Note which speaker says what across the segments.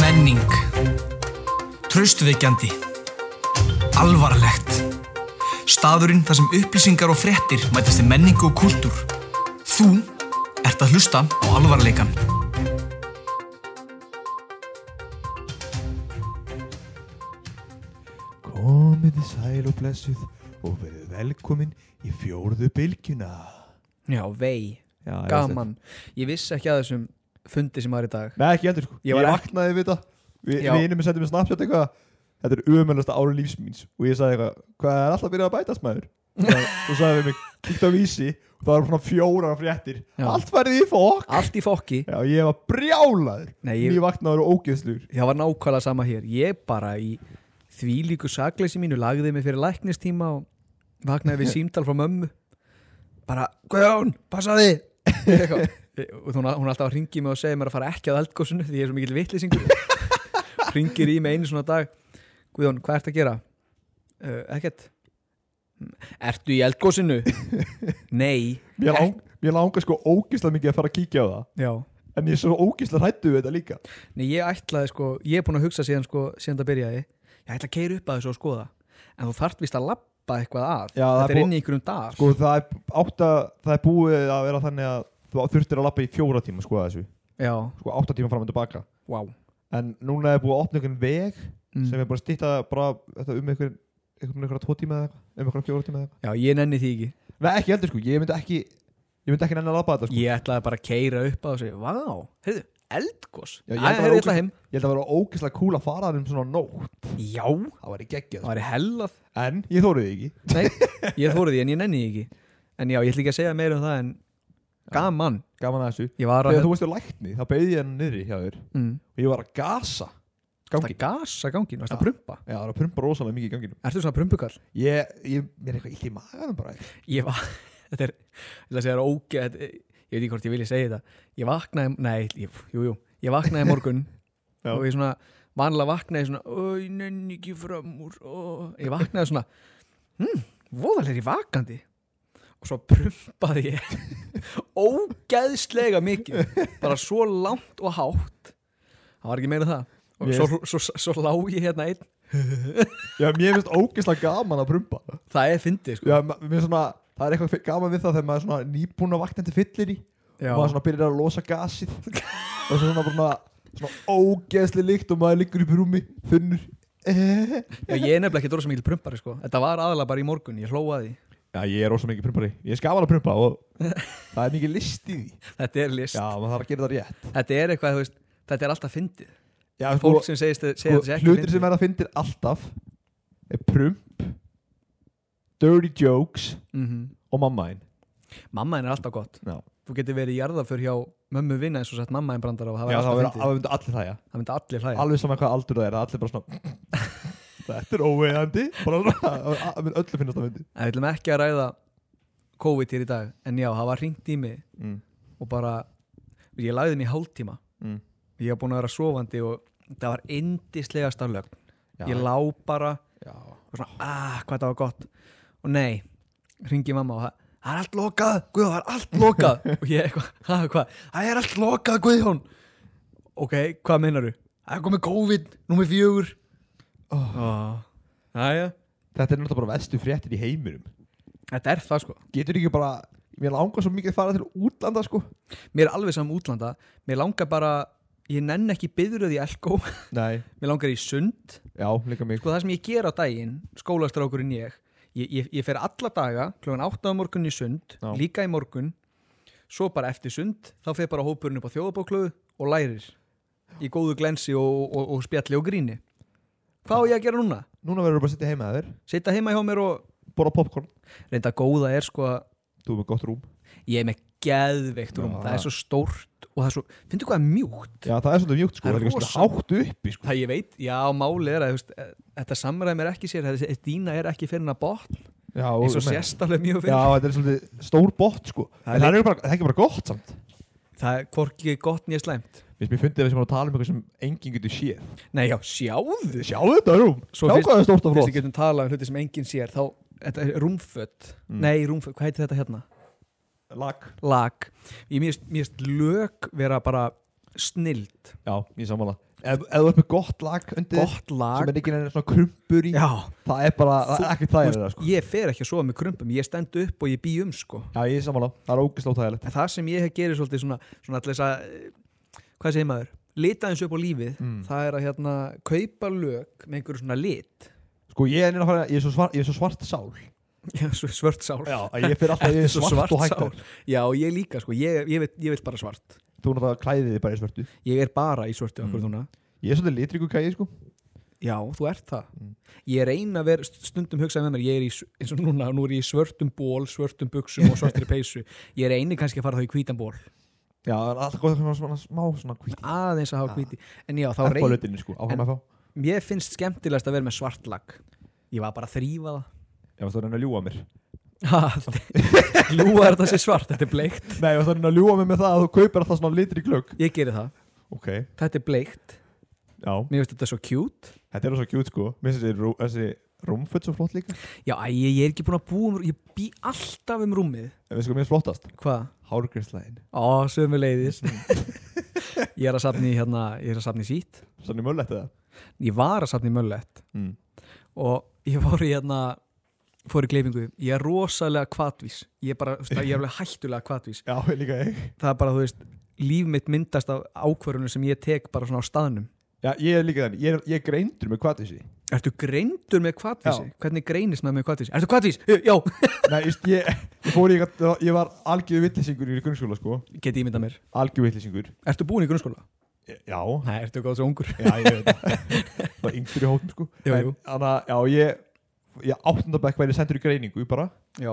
Speaker 1: Menning Traustveikjandi Alvarlegt Staðurinn þar sem upplýsingar og fréttir mætast í menningu og kultúr Þú ert að hlusta á alvarleikan
Speaker 2: Komið þið sæl og blessuð og verið velkomin í fjórðu bylgjuna.
Speaker 3: Já, vei,
Speaker 2: Já, ég
Speaker 3: gaman Ég vissi ekki að þessum fundi sem var í dag
Speaker 2: veist þetta. Nei, ekki endur sko.
Speaker 3: Ég
Speaker 2: Ég,
Speaker 3: var ekki-
Speaker 2: vaknaði við þetta. Vi,
Speaker 3: Já.
Speaker 2: við innum við sendum við snapshot eitthvað. Þetta er umennasta ári lífs míns. Og ég sagði eitthvað, hvað er alltaf byrjað að bætast maður? Þú sagði við mig, kíkt á vísi og það var svona fjórar fréttir.
Speaker 3: Já.
Speaker 2: Allt værið í fokk.
Speaker 3: Allt í fokki
Speaker 2: Já, ég var brjálaður.
Speaker 3: Nei,
Speaker 2: Ég...
Speaker 3: ég,
Speaker 2: vaknaður og ógeðslur.
Speaker 3: það var nákvæmlega sama hér Ég bara í því líku sakleysi mínu lagði mig fyrir læknistíma og vaknaði við símtal frá mömmu bara, Guðjón, passaði "Eh, og hún, hún alltaf hringið mig og segið mér að fara ekki að eldgósinu því ég er svo mikill vitlýsingur hringir í mig einu svona dag Guðjón, hvað ertu að gera? Uh, ekkert Ertu í eldgósinu? Nei
Speaker 2: Mér, lang, mér langar sko ógeðslega mikið að fara að kíkja á það.
Speaker 3: Já
Speaker 2: En ég er svo ógeðslega hrættu við þetta líka.
Speaker 3: Nei, ég ætlaði sko, ég er búin að hugsa síðan sko, síðan það byrjaði, ég ætla að keira upp að þessu og skoða, en þú þarft vist að lappa eitthvað að,
Speaker 2: Já, það er
Speaker 3: þetta er
Speaker 2: bú-
Speaker 3: inn í einhverjum dag
Speaker 2: Sko það er, átta, það er búið að vera þannig að þú þurftir að lappa í fjóra tíma sko að þessu
Speaker 3: Já,
Speaker 2: sko átta tíma fram og tilbaka
Speaker 3: vá
Speaker 2: en núna er búið að opna einhvern veg sem
Speaker 3: mm.
Speaker 2: er búið að stýta bara þetta, um einhver um einhverja tvo tíma eða eitthvað um einhverja fjóra tíma eða
Speaker 3: Já, ég nenni því ekki,
Speaker 2: eitthvað Nei ekki heldur sko ég myndi ekki ég myndi ekki nenni að lappa þetta sko
Speaker 3: ég ætlaði bara að keira upp að þessu, vá, heyrðu, eldgós
Speaker 2: Já,
Speaker 3: Æ,
Speaker 2: ég ætla að
Speaker 3: heyrðu,
Speaker 2: vera
Speaker 3: ætla heim
Speaker 2: ég held að vera ógeðslega kúl að fara þar um svona nótt
Speaker 3: Já,
Speaker 2: það væri geggjað
Speaker 3: það
Speaker 2: sko.
Speaker 3: var í hellað
Speaker 2: en ég þórið ekki
Speaker 3: Nei, ég þóri því en ég nenni því ekki En já, ég ætla ekki að segja meira um það en gaman,
Speaker 2: gaman að þessu
Speaker 3: ég var að
Speaker 2: þegar þú veist þér lækni þá beigði ég hann niðri hjá þér
Speaker 3: mm,
Speaker 2: og ég var að gasa
Speaker 3: Það
Speaker 2: gangi
Speaker 3: gasa gangin, varst að
Speaker 2: Já.
Speaker 3: prumpa
Speaker 2: já það var að pumpa rosalega mikið í ganginum
Speaker 3: Ertu svona prumpukall?
Speaker 2: ég, ég, mér er eitthvað illt í maganum bara
Speaker 3: ég var þetta er, þetta er, er óge þetta, er- ég veit ekki hvort ég vilja segja þetta ég vaknaði, nei, ég, jú, jú ég vaknaði í morgun
Speaker 2: Já.
Speaker 3: og ég svona vanlega vaknaði svona, oi, nenni ekki fram úr ó." ég vaknaði svona hm, voðalegri vakandi og svo prumpaði ég ógeðslega mikið bara svo langt og hátt það var ekki meira en það og
Speaker 2: Mér
Speaker 3: svo, svo, svo, svo lá ég hérna einn
Speaker 2: Já, mér finnst ógeðslega gaman að prumpa
Speaker 3: það er fyndið sko
Speaker 2: Já, ma- mér finnst svona, það er eitthvað fi- gaman við það þegar maður er svona nýbúin að vakna til fyllir í
Speaker 3: Já.
Speaker 2: maður svona byrjar að losa gasið og svo svona, bara svona, svona ógeðslega líkt og maður liggur upp í rúmi þunnur Já,
Speaker 3: Já, ég er nefnilega ekki dróð sem mikil prumpari sko Þetta var aðalega bara í morgun, ég hlóaði
Speaker 2: ég er ósa mikið prumpari Ég skal alveg prumpa og það er mikið list í því
Speaker 3: Þetta er list,
Speaker 2: Já, maður þarf að gera það rétt
Speaker 3: þetta er eitthvað, þú veist Þetta er alltaf fyndið
Speaker 2: Já, sko,
Speaker 3: Fólk sem segist, segir
Speaker 2: sko,
Speaker 3: þetta sé ekki
Speaker 2: hlutir
Speaker 3: fyndið
Speaker 2: sem er að fyndir alltaf er prump dirty jokes
Speaker 3: Mhm.
Speaker 2: og mamma einn
Speaker 3: Mamma henn er alltaf gott
Speaker 2: Já,
Speaker 3: Þú getur verið í jarðaför hjá mömmu vinna eins og sett mamma henn brandar á Það,
Speaker 2: Já
Speaker 3: væri
Speaker 2: það
Speaker 3: alltaf
Speaker 2: verður
Speaker 3: fyndið.
Speaker 2: alveg allir hlæja
Speaker 3: það myndi allir hlæja
Speaker 2: alveg saman hvað aldur það er, það er allir bara svona Þetta er óvegandi bara svona, að- að- mun öllu finnast það myndi
Speaker 3: En við ætlum ekki að ræða COVID hér í dag En já, það var hringt í mig
Speaker 2: mm.
Speaker 3: Og bara, ég lagði mig í hálftíma
Speaker 2: Mm.
Speaker 3: Ég var búin að vera sofandi og það var indislegasta lögn
Speaker 2: Já.
Speaker 3: Ég lá bara
Speaker 2: Já.
Speaker 3: og svona, ah, hvað það var gott og nei, ringi mamma og það það er allt lokað, Guðjón, það er allt lokað og ég eitthvað, ha, hvað, það er allt lokað Guðjón ok, hvað meinar þú? Það er komið COVID, númer fjögur
Speaker 2: Oh.
Speaker 3: Jæja
Speaker 2: Þetta er náttúrulega bara vestu fréttir í heiminum
Speaker 3: Þetta er það sko,
Speaker 2: Getur ekki bara, mér langar svo mikið að fara til útlanda sko
Speaker 3: mér er alveg saman útlanda mér langar bara, ég nenn ekki byðröð í Elko,
Speaker 2: Nei,
Speaker 3: mér langar í sund
Speaker 2: já, líka mig
Speaker 3: sko það sem ég ger á daginn, skólastrákurinn ég ég, ég, ég fer alla daga klokkan 8 á morgun í sund,
Speaker 2: Já.
Speaker 3: líka í morgun svo bara eftir sund þá fer bara hópurinn upp á þjóðabóklöðu og lærir í góðu glensi og, og, og spjalli og gríni hvað á ég að gera núna?
Speaker 2: Núna verður bara að sitja heima að þér,
Speaker 3: Sita heima hjá mér og
Speaker 2: bóra popcorn
Speaker 3: reynda góða er sko að
Speaker 2: Þú er með gott rúm
Speaker 3: ég er með geðveikt rúm,
Speaker 2: Já.
Speaker 3: það er svo stórt og það er svo, finnstu hvað er mjúkt?
Speaker 2: Já, það er svolítið mjúkt sko,
Speaker 3: Það
Speaker 2: það
Speaker 3: er
Speaker 2: er ekki svona
Speaker 3: rosa-
Speaker 2: hátt uppi sko
Speaker 3: Það ég veit, já málið er að þú veist, eh, þetta samræmi er ekki sér, þessi dýna er ekki fyrir hennar botn,
Speaker 2: Já,
Speaker 3: eins og
Speaker 2: ég meina-
Speaker 3: sérst alveg mjög fyrir
Speaker 2: Já, þetta er svolítið stór bot sko
Speaker 3: Það er
Speaker 2: En það er, ekki bara, það er ekki bara gott samt
Speaker 3: Það er hvorki gott nýja slæmt
Speaker 2: Mér finnst mér fundið að við sem erum að tala um eitthvað sem enginn getur séð
Speaker 3: Nei, já, sjáðu
Speaker 2: Sjáðu þetta rúm,
Speaker 3: Svo
Speaker 2: sjá
Speaker 3: fyrst-
Speaker 2: hvað er stórt og
Speaker 3: Fyrst
Speaker 2: flott
Speaker 3: við getum talað um hluti sem enginn sér þá, þetta er rúmföt Nei, rúmföt, hvað heitir þetta hérna?
Speaker 2: Mm. Lag
Speaker 3: Lag Ég mér finnst- mér finnst lög vera bara snild
Speaker 2: Já, ég sammála ef, ef þú ert með gott lag undir þér,
Speaker 3: gott lag
Speaker 2: sem er ekki neina svona krumpur í
Speaker 3: já,
Speaker 2: það er bara, það
Speaker 3: Þú-
Speaker 2: er ekki
Speaker 3: þú
Speaker 2: það er það
Speaker 3: veist,
Speaker 2: sko
Speaker 3: ég fer ekki að sofa með krumpum ég stend upp og ég bý um sko
Speaker 2: já ég er samanlá, það er ógeðslega óþægilegt
Speaker 3: en það sem ég hef gerið svolítið svona, svona allir þess að, eh, hvað segir maður lita eins upp á lífið,
Speaker 2: Mm.
Speaker 3: það er að hérna kaupa lög með einhverju svona lit
Speaker 2: sko ég er, neina að fara- ég er, svo, svart, ég er svo svart sál
Speaker 3: já, svo svört sál
Speaker 2: já, að ég fyrir alltaf, ég er
Speaker 3: Svo
Speaker 2: svart, og hægt
Speaker 3: sál. já, og ég líka sko, ég, ég, vil, ég vil bara svart
Speaker 2: þú náttúrulega klæðið þig bara í svörtu
Speaker 3: ég er bara í svörtu okkur
Speaker 2: Mm.
Speaker 3: núna
Speaker 2: ég er svolítið litriku kæði sko
Speaker 3: já, þú ert það
Speaker 2: Mm.
Speaker 3: ég reyna að vera, stundum hugsaði með mér ég er í, s- eins og núna, nú er ég í svörtum ból svörtum buksum og svartri peysu ég reyni kannski að fara þá í hvítan ból
Speaker 2: já, það er alltaf gott að svona smá svona hvít
Speaker 3: aðeins að hafa
Speaker 2: Ah.
Speaker 3: hvíti, en já, þá
Speaker 2: f á
Speaker 3: reyni
Speaker 2: lötinni sko,
Speaker 3: En-
Speaker 2: áfram að fá
Speaker 3: mér finnst skemmtilegast að vera með svart lag ég var bara að þrýfa það
Speaker 2: ég var það að reyna að ljúa mér
Speaker 3: Ljúa er þetta sé svart, þetta er bleikt
Speaker 2: nei, ég var það að reyna að ljúa mér með það að þú kaupir alltaf svona litri klögg
Speaker 3: Ég geri það,
Speaker 2: ok, já,
Speaker 3: þetta er bleikt Mér finnst þetta svo cute
Speaker 2: þetta er svo kjút sko mér finnst þessi rú- þessi rúmföt svo flott líka
Speaker 3: Já, æ, ég ég er ekki búin að búa um, ég bý alltaf um rúmið
Speaker 2: en við sko mér finnst flottast,
Speaker 3: Hvað?
Speaker 2: hárgræslæðin
Speaker 3: Ó, sömu leiðis Ég er að safni í hérna, ég er að safni í sít
Speaker 2: sannig möllett eða
Speaker 3: Ég var að safni í möllett
Speaker 2: mm.
Speaker 3: Og ég fór í hérna Fór í gleifingu, ég er rosalega kvatvís Ég er bara, þú veist, ég er alveg hættulega kvatvís
Speaker 2: já, líka ég
Speaker 3: Það er bara, þú veist, líf mitt myndast af ákvörunum sem ég tek bara svona á staðnum
Speaker 2: já, ég er líka þannig, ég er, ég er greindur með hvað þessi
Speaker 3: Ertu greindur með kvatvísi?
Speaker 2: Já.
Speaker 3: Hvernig greinist maður með kvatvísi? Ertu kvatvís? Já,
Speaker 2: nei, just, ég, ég fór í eitthvað, ég var algjör vittlisingur í grunnskóla sko,
Speaker 3: geti ímynda mér.
Speaker 2: algjör vittlisingur
Speaker 3: Ertu búin í grunnskóla?
Speaker 2: já,
Speaker 3: Nei, ertu góð svo ungur.
Speaker 2: já, ég veit það það var yngstur í hótum sko
Speaker 3: Jú,
Speaker 2: En
Speaker 3: jú.
Speaker 2: þannig að, já, ég ég áttundabæk væri sendur í greiningu bara
Speaker 3: Já.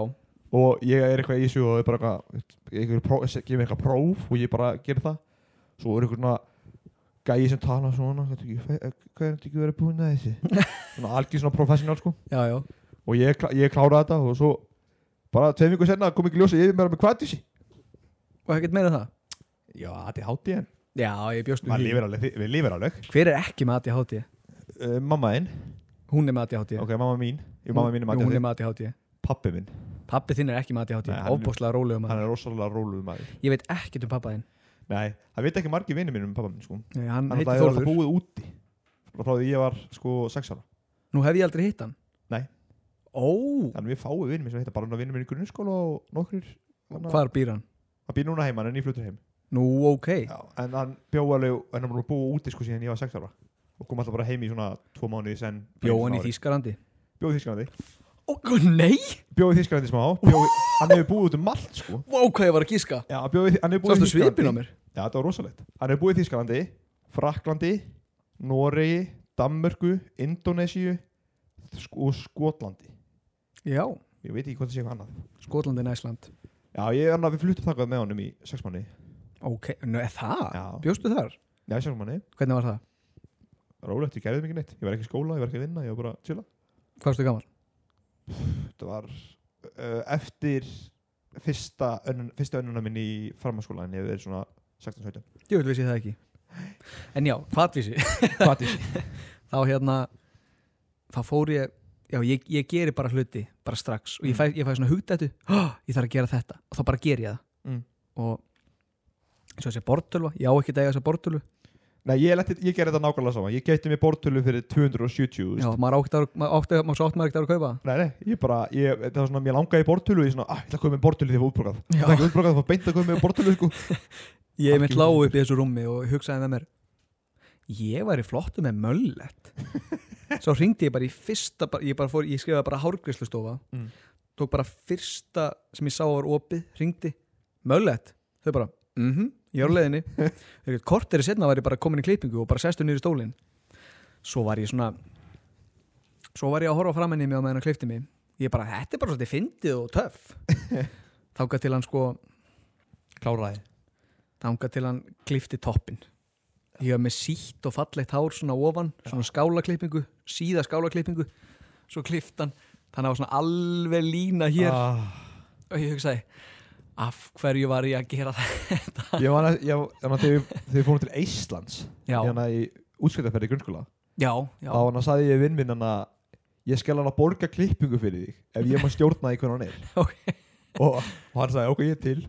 Speaker 2: og ég er eitthvað í þessu og er bara eitthvað, eitthvað próf, gef mér eitthvað próf og ég bara ger það svo er eitthvað svona gæi sem tala svona hvað er þetta eh, ekki verið búin að þessi svona algjör svona professional sko
Speaker 3: Já, já.
Speaker 2: og ég, klá- ég klára þetta og svo bara tveim vikur senna kom ekki ljósa ég er bara með hvað þessi
Speaker 3: Og ekkert meira en það?
Speaker 2: já, þetta er hátíð en
Speaker 3: Já, ég bjóst um
Speaker 2: Maður lifir alveg, þi- við lifir alveg
Speaker 3: Hver er ekki með ADHD?
Speaker 2: uh, mamma þinn,
Speaker 3: Hún er með ADHD.
Speaker 2: ok, mamma mín ég, mamma mín er
Speaker 3: Hún
Speaker 2: maður,
Speaker 3: er með ADHD.
Speaker 2: pappi minn
Speaker 3: Pappi þinn er ekki með ADHD.
Speaker 2: Nei, hann er-
Speaker 3: Óbúslega rólegur
Speaker 2: hann
Speaker 3: maður.
Speaker 2: er rosalega róluð maður
Speaker 3: Ég veit ekkert um pappa þinn.
Speaker 2: nei, það veit ekki margir vinið minn um pappa minn sko
Speaker 3: Nei, hann
Speaker 2: hann
Speaker 3: heitir
Speaker 2: er alltaf
Speaker 3: Þórður.
Speaker 2: búið úti bara frá því ég var sko 6 ára
Speaker 3: Nú hef ég aldrei hitt hann.
Speaker 2: Nei.
Speaker 3: Ó,
Speaker 2: þannig við fáum vinnum sem heita bara vinnum minn í grunnskóla og nokkrir hann
Speaker 3: hvar býr hann?
Speaker 2: býr núna heima, hann er nýflutur heim
Speaker 3: Nú, ok.
Speaker 2: Já, en hann bjóð alveg, en hann var búið úti sko síðan ég var 6 ára og kom alltaf bara heim í svona 2 mánuði sen
Speaker 3: Bjó hann í Þýskalandi.
Speaker 2: bjóð í Þískalandi
Speaker 3: Ó, nei!
Speaker 2: bjóð í Þískalandi smá bjó, hann hefur búið út um allt sko
Speaker 3: Vá, hvað ég var að gíska.
Speaker 2: Já, hann bjó, hann hefur búið
Speaker 3: Sástu svipin á mér?
Speaker 2: Já, þetta var rosalegt hann hefur búið í Þískalandi, Fraklandi Noregi, Danmörku Indonésiu sk- og Skotlandi
Speaker 3: Já.
Speaker 2: ég veit ekki hvað það sé eitthvað annað
Speaker 3: Skotlandi en Æsland.
Speaker 2: Já, ég er annað, við fluttum þangað með honum í sex manni
Speaker 3: Ok, nú er það?
Speaker 2: Já,
Speaker 3: Bjóstu þar?
Speaker 2: já sex manni,
Speaker 3: Hvernig var það?
Speaker 2: rólegt, ég gerði mikið neitt Ég var ekki í skóla, ég var ekki að vinna, ég var bara að chilla
Speaker 3: Hvað varstu gaman?
Speaker 2: Þetta var uh, eftir fyrsta, önnun, fyrsta önnuna minni í farmaskóla En ég hef verið svona 16-17
Speaker 3: Ég vil vissi það ekki. En já, hvatvísi.
Speaker 2: Hvatis?
Speaker 3: þá hérna, þá fór ég, já, ég, ég geri bara hluti, bara strax. Og ég fæ, ég fæ svona hugdættu, oh, ég þarf að gera þetta. Og þá bara ger ég það.
Speaker 2: Mm.
Speaker 3: Og eins og þessi bortölva, ég á ekki að eiga þessa bortölu.
Speaker 2: Nei, ég, leti, ég gerði þetta nákvæmlega sama Ég gæti mér bortölu fyrir 270
Speaker 3: Já,
Speaker 2: já.
Speaker 3: maður átti að, maður átti að, maður svo átti maður ekki að kaupa það.
Speaker 2: Nei, nei, ég bara, ég, þetta var svona, mér langaði í bortölu og Ég svona, ah, ég ætla að koma með bortölu þegar útbrukað
Speaker 3: Já.
Speaker 2: Það er ekki útbrukað, það var beint að koma með bortölu sko.
Speaker 3: Ég mitt lág upp í þessu rúmi og hugsaði með mér Ég væri flottu með möllett Svo hringdi ég bara í fyrsta bara- Ég, bara fór, ég skrifaði bara hárgrislustofa
Speaker 2: Mm.
Speaker 3: Tók bara fyrsta sem ég sá var opið Hringdi, möllett Þau bara, mhm, ég er á leiðinni Þegar kort er í setna var ég bara komin í klippingu Og bara sestu niður í stólinn Svo var ég svona Svo var ég að horfa framan í mig á meðan að klippti mig Ég bara, þetta er bara svolítið fyndið og töff Þáka til hann sko
Speaker 2: Kláraði
Speaker 3: þangað til hann klifti toppin ég var með sítt og fallegt hár svona ofan, svona skálaklippingu síða skálaklippingu, svo klift hann þannig að það var svona alveg lína hér
Speaker 2: ah.
Speaker 3: og ég hugsaði af hverju var ég að gera það
Speaker 2: Ég var að, ég, þannig að þegar þegar við fórum til Íslands
Speaker 3: já,
Speaker 2: hérna í útskjöldafæri í grunnskóla
Speaker 3: já, já,
Speaker 2: þá hann sagði ég vinn minn hann að ég skal hann að borga klippingu fyrir þig ef ég má stjórna því hvernig hann er
Speaker 3: Ok.
Speaker 2: og, og hann sagði ok ég er til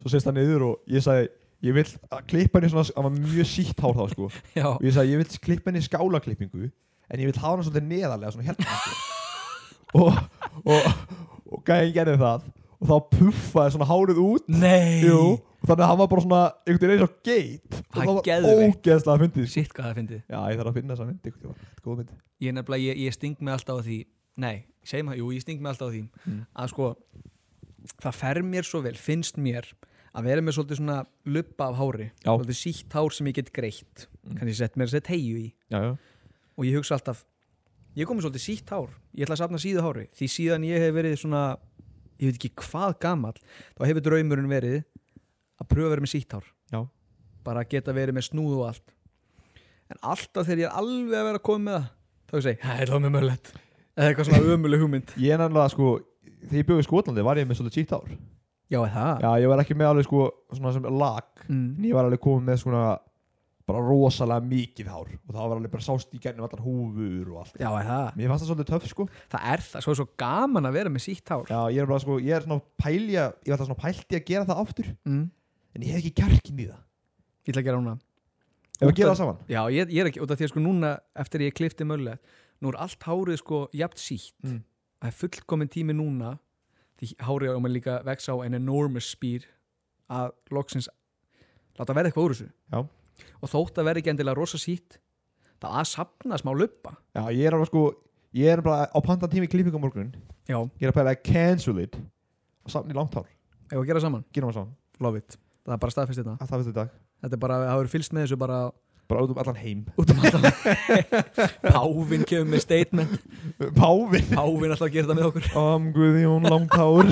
Speaker 2: svo sést hann niður og ég sagði ég vil að klippa henni svona það var mjög sítt hár þá sko og
Speaker 3: já,
Speaker 2: ég sagði ég vil klippa henni í skálaklippingu en ég vil hafa henni svolítið neðarlega svona hérna sko. og, og, og gæði gerði það og þá puffaði svona hárið út
Speaker 3: nei
Speaker 2: Jú, og þannig að hann var bara svona einhvern veginn eins og geit og
Speaker 3: Það
Speaker 2: það
Speaker 3: er
Speaker 2: var
Speaker 3: geðveikt.
Speaker 2: ógeðslega fyndið sko.
Speaker 3: sitt hvað það fyndi
Speaker 2: Já, ég þarf að finna þessa mynd einhvern tímann. Þetta er góð mynd
Speaker 3: ég nefnilega, ég, ég sting mig alltaf á því nei, segjum það, jú, ég sting mig alltaf á því
Speaker 2: Mm.
Speaker 3: að sko, það fer mér svo vel finnst mér að vera með svolítið svona luppa af hári
Speaker 2: Já.
Speaker 3: svolítið sítt hár sem ég get greitt
Speaker 2: Mm.
Speaker 3: kannski sett mér að setja hegju í
Speaker 2: Já, já
Speaker 3: og ég hugsa alltaf, ég er komið svolítið sítt hár ég ætla að safna síðu hári, því síðan ég hef verið svona, ég veit ekki hvað gamall þá hefur draumurinn verið að pröfa að vera með sítt hár
Speaker 2: Já.
Speaker 3: bara að geta verið með snúð og allt en alltaf þegar ég er alveg að vera að koma með það þá ég segi, það er þá með möllett eða eitthvað svona ömuleg hugmynd
Speaker 2: Ég er nefnilega sko Þegar ég bjóði í Skotlandi var ég með svolítið sítt hár
Speaker 3: já, er það
Speaker 2: Já, ég var ekki með alveg sko Svona sem lag
Speaker 3: Mm.
Speaker 2: En ég var alveg komið með svona Bara rosalega mikið hár Og það var alveg bara sást í gennum allar húfur og allt
Speaker 3: já, er það
Speaker 2: Mér fannst það svolítið töff sko
Speaker 3: það er það, svo er svo gaman að vera með sítt hár
Speaker 2: Já, ég er bara sko Ég er svona pælja Ég var alltaf svona pælti að gera það aftur
Speaker 3: mm.
Speaker 2: En ég hef ekki kjarkin í það
Speaker 3: ég ætla að gera núna
Speaker 2: Ef
Speaker 3: Út
Speaker 2: að gera
Speaker 3: af-
Speaker 2: það saman
Speaker 3: Já, ég, ég er ekki, út af því að sko núna eftir ég klifti möllet, nú er allt hárið sko jafn sítt,
Speaker 2: Mm.
Speaker 3: það er fullkomin tími núna því hárið á mann líka vex á en enormous speed að loksins láta verða eitthvað úr þessu
Speaker 2: Já.
Speaker 3: og þótt að verða ekki endilega rosa sítt það að sapna smá luppa
Speaker 2: Já, ég er alveg sko Ég er bara á pantan tími klippingu á morgun
Speaker 3: Já,
Speaker 2: Ég er að pæla að cancel it Og samt í langt hár
Speaker 3: ef að gera saman,
Speaker 2: Gerum það saman
Speaker 3: love it það er bara staðfest þetta,
Speaker 2: Að það finnst í dag
Speaker 3: þetta er bara, það eru fylst með þessu bara
Speaker 2: Bara út um allan heim
Speaker 3: út um alltaf Pávin kemur með statement
Speaker 2: Pávin
Speaker 3: Pávin alltaf að gera þetta með okkur
Speaker 2: Amguðjón Langtár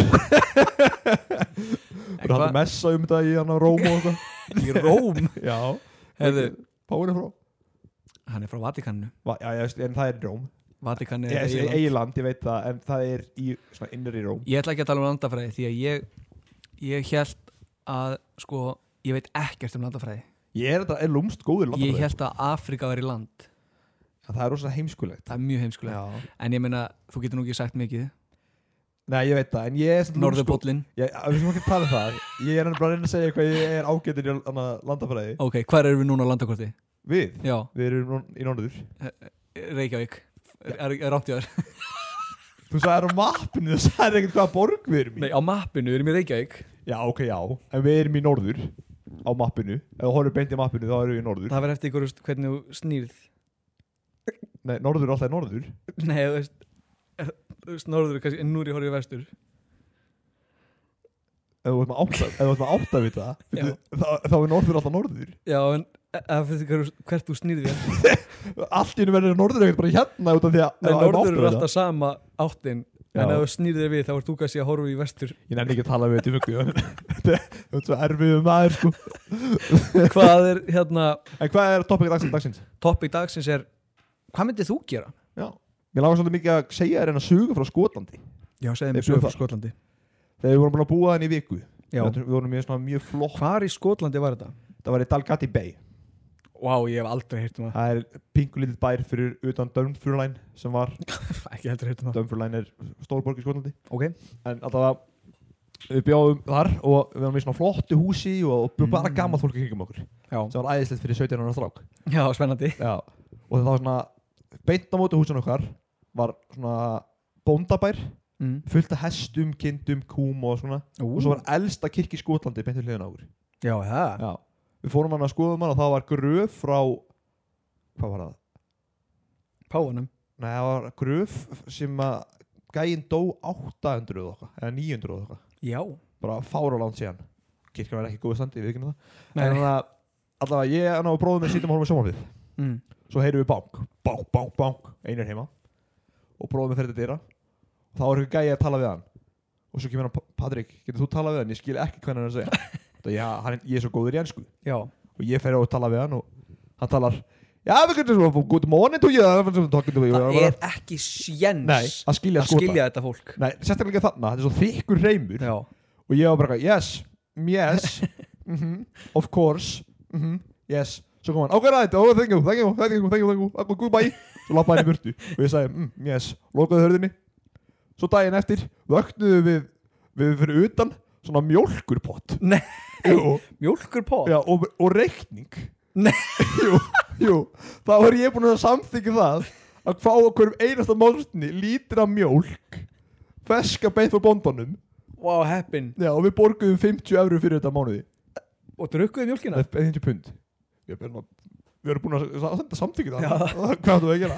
Speaker 2: Það
Speaker 3: En
Speaker 2: er haldið messa um þetta í hann að Róm og þetta
Speaker 3: hvað- í Róm,
Speaker 2: Já
Speaker 3: Heyrðu,
Speaker 2: Páin er frá
Speaker 3: hann er frá Vatikaninu
Speaker 2: Va- Já, já, veist, en það er í Róm
Speaker 3: Vatikan er
Speaker 2: Ég
Speaker 3: eiginland.
Speaker 2: er eiland, ég veit það En það er í, svona innar í Róm
Speaker 3: Ég ætla ekki að tala um landafræði því að ég ég held að sko ég veit ekkert um landafræði
Speaker 2: Ég er þetta, er lúmst góður
Speaker 3: ég
Speaker 2: landar
Speaker 3: held að Afrika væri land
Speaker 2: Það er rosa heimskulegt
Speaker 3: það er mjög heimskulega
Speaker 2: Já
Speaker 3: en ég meina þú getur nú ekki sagt mikið
Speaker 2: Nei, ég veit það En ég er svona lúmsk
Speaker 3: Norðurpóllinn
Speaker 2: Ég, við sem ekki tala um það Ég er bara að reyna að segja hvað ég er ágættur í landafræði
Speaker 3: ok, hvar erum við núna á landakorti?
Speaker 2: Við,
Speaker 3: já,
Speaker 2: við erum nú- í norður
Speaker 3: Reykjavík er, er rámt í þar
Speaker 2: Þú sagði á mappinu, þú sagði ekkert hvaða borg við erum í
Speaker 3: nei, á mappinu erum við Reykjavík
Speaker 2: Já, ok, já, en við erum í norður á mappinu, ef þú horfum beint í mappinu þá erum við í norður
Speaker 3: það verður eftir ykkur veist, hvernig þú snýrð
Speaker 2: Nei, norður er alltaf í norður
Speaker 3: nei, þú veist, er- þú veist norður kannski, en nú er ég horfðið vestur
Speaker 2: ef þú ert með átta- ef þú ert með átta við það
Speaker 3: Já.
Speaker 2: þá, þá er norður alltaf norður
Speaker 3: já, en e- það fyrir ykkur hvert þú snýrð þér
Speaker 2: Allt í hennu verður norður ekkert bara hérna út af því að
Speaker 3: Nei,
Speaker 2: ef þú ert með
Speaker 3: norður
Speaker 2: átta
Speaker 3: eru
Speaker 2: við það-
Speaker 3: alltaf sama áttin en
Speaker 2: Já.
Speaker 3: ef þú snýrðir þér við þá ert þú kannski að horfa í vestur
Speaker 2: Ég nefn ekki að tala við þetta mjög guðan Þetta er þetta er svo erfið maður sko
Speaker 3: Hvað er hérna
Speaker 2: En hvað er topic dagsins? dagsins?
Speaker 3: topic dagsins er hvað myndið þú gera?
Speaker 2: Já Mér langar svolítið mikið að segja þér en að suga frá Skotlandi
Speaker 3: Já, segðu
Speaker 2: mér
Speaker 3: mér
Speaker 2: sögur
Speaker 3: sögur
Speaker 2: frá
Speaker 3: frá Skotlandi
Speaker 2: Þegar við vorum búin að búa þenni í viku
Speaker 3: Já,
Speaker 2: Þetta- Við vorum mjög, svona, mjög flott
Speaker 3: hvar í Skotlandi var þetta?
Speaker 2: Það var í Dalgati Bay
Speaker 3: Vá, ég hef aldrei heyrt um
Speaker 2: Það er pingulítið bær fyrir utan Dunfermline sem var
Speaker 3: það Ekki heldur heyrt um það
Speaker 2: Dunfermline er stórborg í Skotlandi
Speaker 3: Ok,
Speaker 2: en alltaf við bjáðum þar og við varum í svona flottu húsi og, og bara
Speaker 3: Mm.
Speaker 2: gamað fólk í kringum okkur sem
Speaker 3: já,
Speaker 2: var æðislegt fyrir 17 ára strák
Speaker 3: já spennandi
Speaker 2: Já. og það var svona beint á móti húsin okkar var svona bóndabær
Speaker 3: mm.
Speaker 2: fullt af hestum, kindum, kúm og svona og svo var elsta kirkja í Skotlandi beint við hliðin á okkur
Speaker 3: Já, það
Speaker 2: Já. við fórum hann að skoðum hann og það var gröf frá hvað var það?
Speaker 3: Páanum
Speaker 2: Nei, það var gröf sem að gæinn dó 800 og okkar, eða 900 og okkar
Speaker 3: Já
Speaker 2: bara fára langt síðan kirkjan var ekki í góðu standi, við ekki það en
Speaker 3: Nei,
Speaker 2: þannig að allavega ég hann og bróðum minn sýtum hálfum sjómanfið
Speaker 3: mm.
Speaker 2: svo heyrum við bank, bank, bank, bank einar heima og bróðum minn fer til dyra og þá er eitthvað gæi að tala við hann og svo kemur hann, "Pa- Patrik, getur þú talað við hann? ég skil ekki hvað hann er að segja það, já, hann, ég er svo góður í ennsku
Speaker 3: já
Speaker 2: og ég fer og tala við hann og hann talar já, við getum svo, good morning to you
Speaker 3: Það
Speaker 2: það
Speaker 3: er ekki sjens
Speaker 2: nei, að skilja
Speaker 3: að
Speaker 2: skota
Speaker 3: skilja þetta fólk
Speaker 2: nei, sérstaklega þarna, þetta er svo þykkur reymur
Speaker 3: Já,
Speaker 2: og ég var bara eitthvað, yes, mm, yes mhm, of course mhm, yes, svo kom hann, ok, right, oh, thank you, thank you, thank you, thank you, thank you, thank you goodbye, svo lappaði hann í burtu og ég sagði, mm, yes, lokaði hörðinni svo daginn eftir, vöknuðu við við fyrir utan, svona mjólkurpott
Speaker 3: Nei.
Speaker 2: Jú,
Speaker 3: Mjólkurpott?
Speaker 2: já, og, og reikning
Speaker 3: Nei.
Speaker 2: jú, jú, þá er ég búin að samþykja það að fá okkur einasta málsni lítra mjólk feska beint frá bóndanum
Speaker 3: Wow, heppin
Speaker 2: já, og við borguðum 50 eurur fyrir þetta á mánuði
Speaker 3: Og drukkuðu mjólkina?
Speaker 2: Nei, 50 pund Ég er bara- Við erum búin að senda samþykja
Speaker 3: Já.
Speaker 2: það Hvað áttu að gera?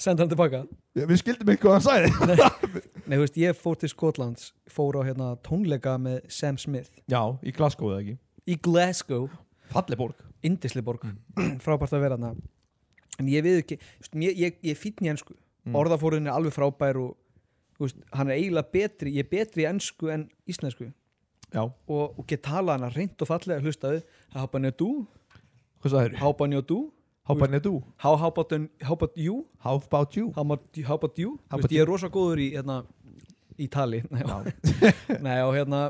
Speaker 3: Senda hann tilbaka
Speaker 2: Já, Við skildum ekki hvað hann sagði
Speaker 3: Nei, þú veist, ég fór til Skotlands Fór á hérna tónleika með Sam Smith
Speaker 2: Já, í Glasgow eða ekki
Speaker 3: Í Glasgow
Speaker 2: Falleg borg
Speaker 3: Indisliborg Frábært að vera hana En ég við ekki veist, mér, Ég, ég fýtn í ensku mm. Orðafóruðin er alveg frábær og þú veist, hann er eiginlega betri Ég er betri í ensku en íslensku
Speaker 2: Já,
Speaker 3: og, og get talað hana reynd og fallega hlustaði Hápanjótú,
Speaker 2: hvað sagði þér?
Speaker 3: hápanjótú
Speaker 2: How about you?
Speaker 3: Há hápatun, hápatjú
Speaker 2: How about you?
Speaker 3: How about you? How about you? Þú
Speaker 2: How about
Speaker 3: veist, ég er rosa góður í, hérna, í tali Nei, og- Nei, og hérna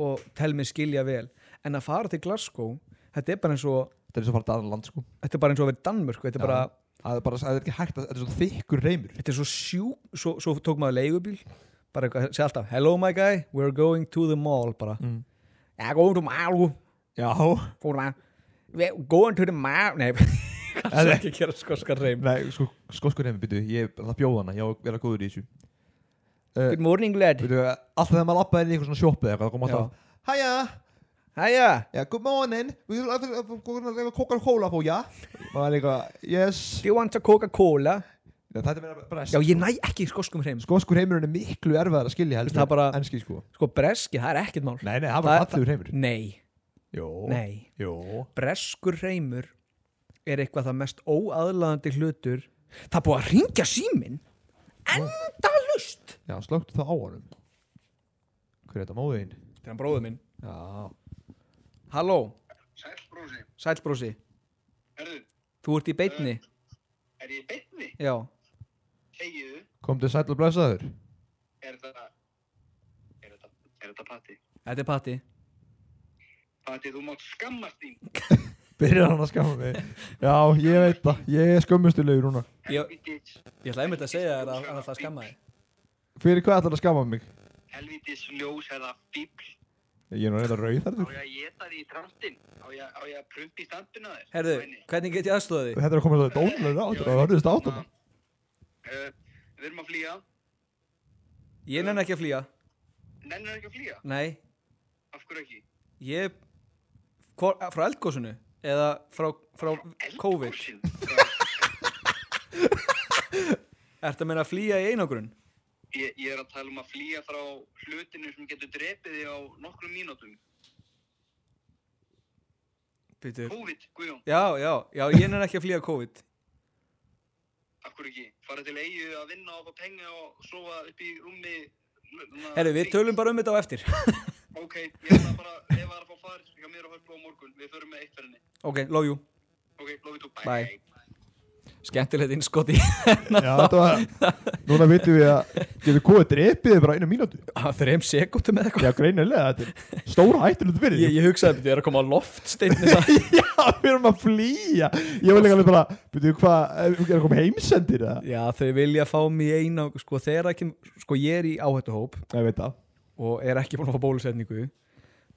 Speaker 3: og tel mér skilja vel en að fara til Glasgow þetta er bara eins og
Speaker 2: Þetta er svo farið aðra land sko
Speaker 3: þetta er bara eins og að vera í Danmörk þetta er
Speaker 2: Já.
Speaker 3: bara,
Speaker 2: Það er bara, það er ekki hægt að, þetta er svo þykkur reymur
Speaker 3: þetta er svo sjú svo, svo tók maður leigubíl bara eitthvað, segja alltaf, hello my guy, we're going to the mall bara,
Speaker 2: Mm.
Speaker 3: yeah, going to mall
Speaker 2: Já
Speaker 3: fórum að "We're going to the mall nei, kannski
Speaker 2: Nei.
Speaker 3: ekki gera skoska reym
Speaker 2: Nei, sko, skosku reymur, byrju, ég, það bjóð hana, ég á að vera góður í þessu
Speaker 3: good morning lad,
Speaker 2: Byrju, alltaf þegar maður lappaði inn í eitthvað svona sjoppi eða eitthvað, það kom alltaf Hæja,
Speaker 3: hæja
Speaker 2: já, good morning, við erum alltaf að góða að reyna Coca-Cola fó, já Maður er eitthvað, yes
Speaker 3: do you want a Coca-Cola
Speaker 2: Nei, Þetta er meira brest
Speaker 3: já, ég næ ekki skoskum reym
Speaker 2: Skosku reymurinn sko, er miklu erfæðar að skilja heldur
Speaker 3: Það er bara-
Speaker 2: en enski sko
Speaker 3: sko, breski, það er ekkert mál
Speaker 2: Nei, nei, það
Speaker 3: Það
Speaker 2: var
Speaker 3: er-
Speaker 2: fallegur reymur
Speaker 3: nei,
Speaker 2: Jó,
Speaker 3: nei
Speaker 2: jó
Speaker 3: breskur reymur er eitthvað það mest óaðlaðandi hlutur það er búið að ringja síminn endalust
Speaker 2: Já, slögt það á honum Hver er þetta móðin?
Speaker 3: þetta er hann bróður minn
Speaker 2: Já,
Speaker 3: halló,
Speaker 4: Sæll brósi,
Speaker 3: sælbrósi,
Speaker 4: herðu,
Speaker 3: þú ert í beitni
Speaker 4: er ég í beinni?
Speaker 3: já,
Speaker 4: Þegiðu,
Speaker 2: komdu sæll og blessaður
Speaker 4: er þetta, er þetta, er þetta patti?
Speaker 3: þetta er Patti
Speaker 4: Patti, þú mátt skammast þín.
Speaker 2: Byrjar hann að skama mig Já, ég veit það, ég er skömmustilegur núna
Speaker 3: ég,
Speaker 4: Helvíti bitch,
Speaker 3: ég ætla einmitt að segja þér að hann ætla að skamma þig
Speaker 2: Fyrir hvað ætlar að skama mig?
Speaker 4: helvítis ljós eða fíbl.
Speaker 2: Ég er nú reyna
Speaker 4: Á
Speaker 2: rauðarður
Speaker 4: ég að geta því í trantinn, á ég, á ég að prumpi í stampinu að þér.
Speaker 3: herðu, hvernig get ég aðstofa þig
Speaker 2: Þetta er að koma svo dónulega á þetta Það hörðist átt hann
Speaker 4: Uh, hérna við erum að flýja,
Speaker 3: ég nenni ekki að flýja,
Speaker 4: nennir ekki að flýja,
Speaker 3: nei
Speaker 4: af hverju ekki?
Speaker 3: ég hvor, frá eldgósunu eða frá, frá COVID
Speaker 4: Eldgosið.
Speaker 3: ert að meina að flýja í einangrun
Speaker 4: Ég, ég er að tala um að flýja frá hlutinu sem getur drepið þig á nokkrum mínútum.
Speaker 3: Bíddu.
Speaker 4: COVID, Guðjón,
Speaker 3: já, já, já, ég nenni ekki að flýja COVID
Speaker 4: af hverju ekki? Fara til eigu að vinna og fá penga og sofa upp í rúmi. hérna,
Speaker 3: Herru, við
Speaker 4: frítt.
Speaker 3: tölum bara um þetta á eftir
Speaker 4: Ok, ég ætla bara, ég var að fá far hjá mér og hörpu á morgun, við förum með eitt ferinni.
Speaker 3: Ok, love you
Speaker 4: Ok, lofið þú, bye.
Speaker 3: Bye. Skemmtilegt innskoti
Speaker 2: Já, þetta var Núna vitum við að Getur komið drepið þig bara einu mínútu
Speaker 3: Þreim sekundum eða eitthvað
Speaker 2: Já, greinilega, þetta er stóra hættulut fyrir
Speaker 3: Ég,
Speaker 2: þig.
Speaker 3: ég hugsaði að þetta er að koma á loft steinni
Speaker 2: Já, við erum að flýja Ég var líka alveg bara Byrju, hvað, er að koma heimsendir eða?
Speaker 3: Já, þau vilja fá mig í eina Sko, þegar ekki, sko ég er í áhættuhóp
Speaker 2: Nei, ég veit það
Speaker 3: og er ekki búin að fá bólusetningu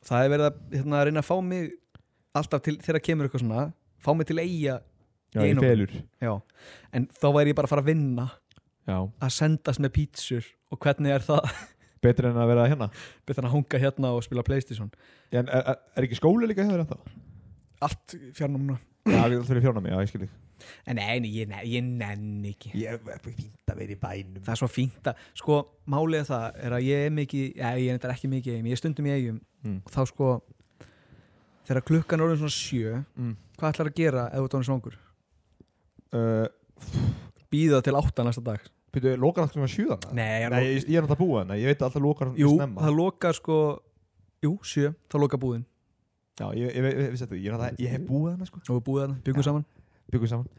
Speaker 3: Það er verið að, hérna, að reyna að fá mig alltaf til þegar kemur eitthvað svona fá mig til eiga
Speaker 2: Já, ég
Speaker 3: Einum.
Speaker 2: felur
Speaker 3: Já, en þá væri ég bara að fara að vinna
Speaker 2: Já,
Speaker 3: að sendast með pítsur og hvernig er það
Speaker 2: betur en að vera hérna
Speaker 3: betur hann að hunga hérna og spila Playstation
Speaker 2: En er, er, er ekki skóli líka hefur þetta?
Speaker 3: Allt fjarnumna
Speaker 2: Já, við þurfum fjóna mig, já, ég skil þig
Speaker 3: En nei, nei, ég, nei, ég nenni ekki
Speaker 2: Ég er fínt að vera í bænum
Speaker 3: það er svo fínt að, sko, málið er það er að ég er mikið, ja, ég er þetta ekki mikið í eigum, ég er stundum í eigum
Speaker 2: Mm.
Speaker 3: og þá sko, þegar klukkan er orðin svona sjö,
Speaker 2: Mm.
Speaker 3: hvað ætlar að gera ef þú ert orðin svangur?
Speaker 2: uh,
Speaker 3: Býða til átta næsta dag
Speaker 2: Býtu, lokar alltaf svona sjúðana?
Speaker 3: Nei,
Speaker 2: Nei, ég, ég er náttúrulega búið hana, ég veit að alltaf lokar hann
Speaker 3: jú,
Speaker 2: snemma
Speaker 3: það lokar sko jú, sjö, þá lokar búðin
Speaker 2: Já, ég, ég, ég, ég vissi þetta, ég, er náttúrulega- ég hef búið hana sko
Speaker 3: og við búðum þarna, byggum saman
Speaker 2: Byggum saman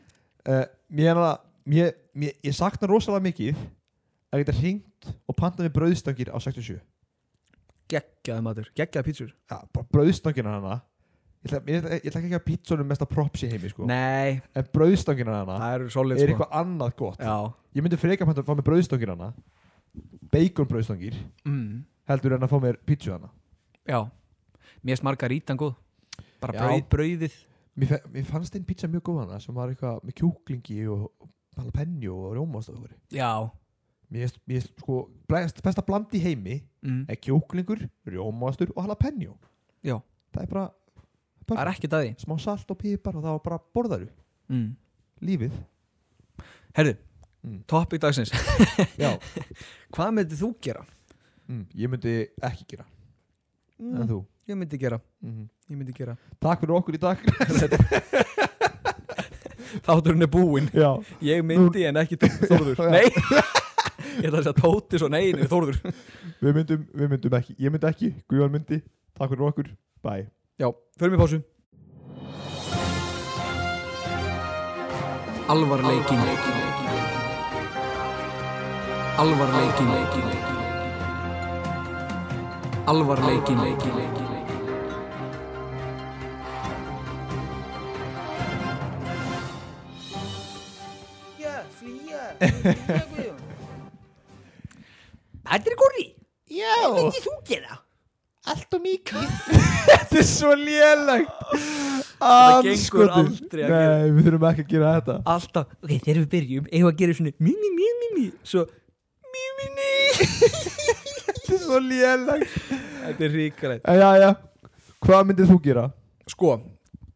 Speaker 2: uh, Mér er að, mér, mér, ég sakna rosalega mikið að geta hringt og panta með brauðstangir á 67
Speaker 3: geggjaði matur, geggjaði pítsur
Speaker 2: Já, bara brauðstangina hana Ég ætla, ég, ætla- ég ætla ekki að pítsunum mesta props í heimi sko
Speaker 3: nei,
Speaker 2: En brauðstangina hana
Speaker 3: það eru solid
Speaker 2: er
Speaker 3: sko.
Speaker 2: eitthvað annað gott
Speaker 3: já,
Speaker 2: ég myndi frekar panta að fá með brauðstangir hana bacon brauðstangir
Speaker 3: mm.
Speaker 2: heldur en að fá mér pítsu hana
Speaker 3: Já, mér er margarítan góð Bara
Speaker 2: Já.
Speaker 3: brauð, brauðið
Speaker 2: mér, fe- mér fannst einn pítsa mjög góð hana sem var eitthvað með kjúklingi og jalapeno og rjómastöður
Speaker 3: Já,
Speaker 2: mér finnst- mér finnst sko best, besta bland í heimi
Speaker 3: mm.
Speaker 2: er kjúklingur, rjómastur og jalapeno
Speaker 3: Já.
Speaker 2: það er bara,
Speaker 3: það er
Speaker 2: bara
Speaker 3: ekkert að því
Speaker 2: smá salt og pipar og það var bara borðaru
Speaker 3: mm.
Speaker 2: lífið
Speaker 3: Herðu,
Speaker 2: Mm.
Speaker 3: topp í dagsins
Speaker 2: já,
Speaker 3: Hvað myndið þú gera?
Speaker 2: mm, ég myndi ekki gera en þú
Speaker 3: Mm. Ég myndi gera,
Speaker 2: mm -hmm.
Speaker 3: ég myndi gera
Speaker 2: takk fyrir okkur í dag
Speaker 3: Þátturinn er búinn
Speaker 2: já,
Speaker 3: Ég myndi en ekki Tó- Þórður
Speaker 2: Já.
Speaker 3: Nei Ég ætla að segja Tóti svo negin við Þórður
Speaker 2: við myndum, við myndum ekki ég myndi ekki, Guðjón myndi, takk fyrir okkur bye
Speaker 3: Já, förum í pásu
Speaker 5: Alvarleikin Alvarleikin Alvarleikin
Speaker 3: Þetta er góri
Speaker 2: já,
Speaker 3: Þú gera
Speaker 2: allt og mikið þetta er svo lélegt
Speaker 3: Þetta gengur
Speaker 2: Andskotinn.
Speaker 3: aldrei að
Speaker 2: nei, við þurfum ekki að gera þetta
Speaker 3: Alltaf Ok, þegar við byrjum Eigum við að gera svona Mí, mí, mí, mí, mí Svo Mí, mí, mí
Speaker 2: þetta er svo lélegt
Speaker 3: Þetta er ríkalegt
Speaker 2: já, já, hvað myndið þú gera?
Speaker 3: Sko,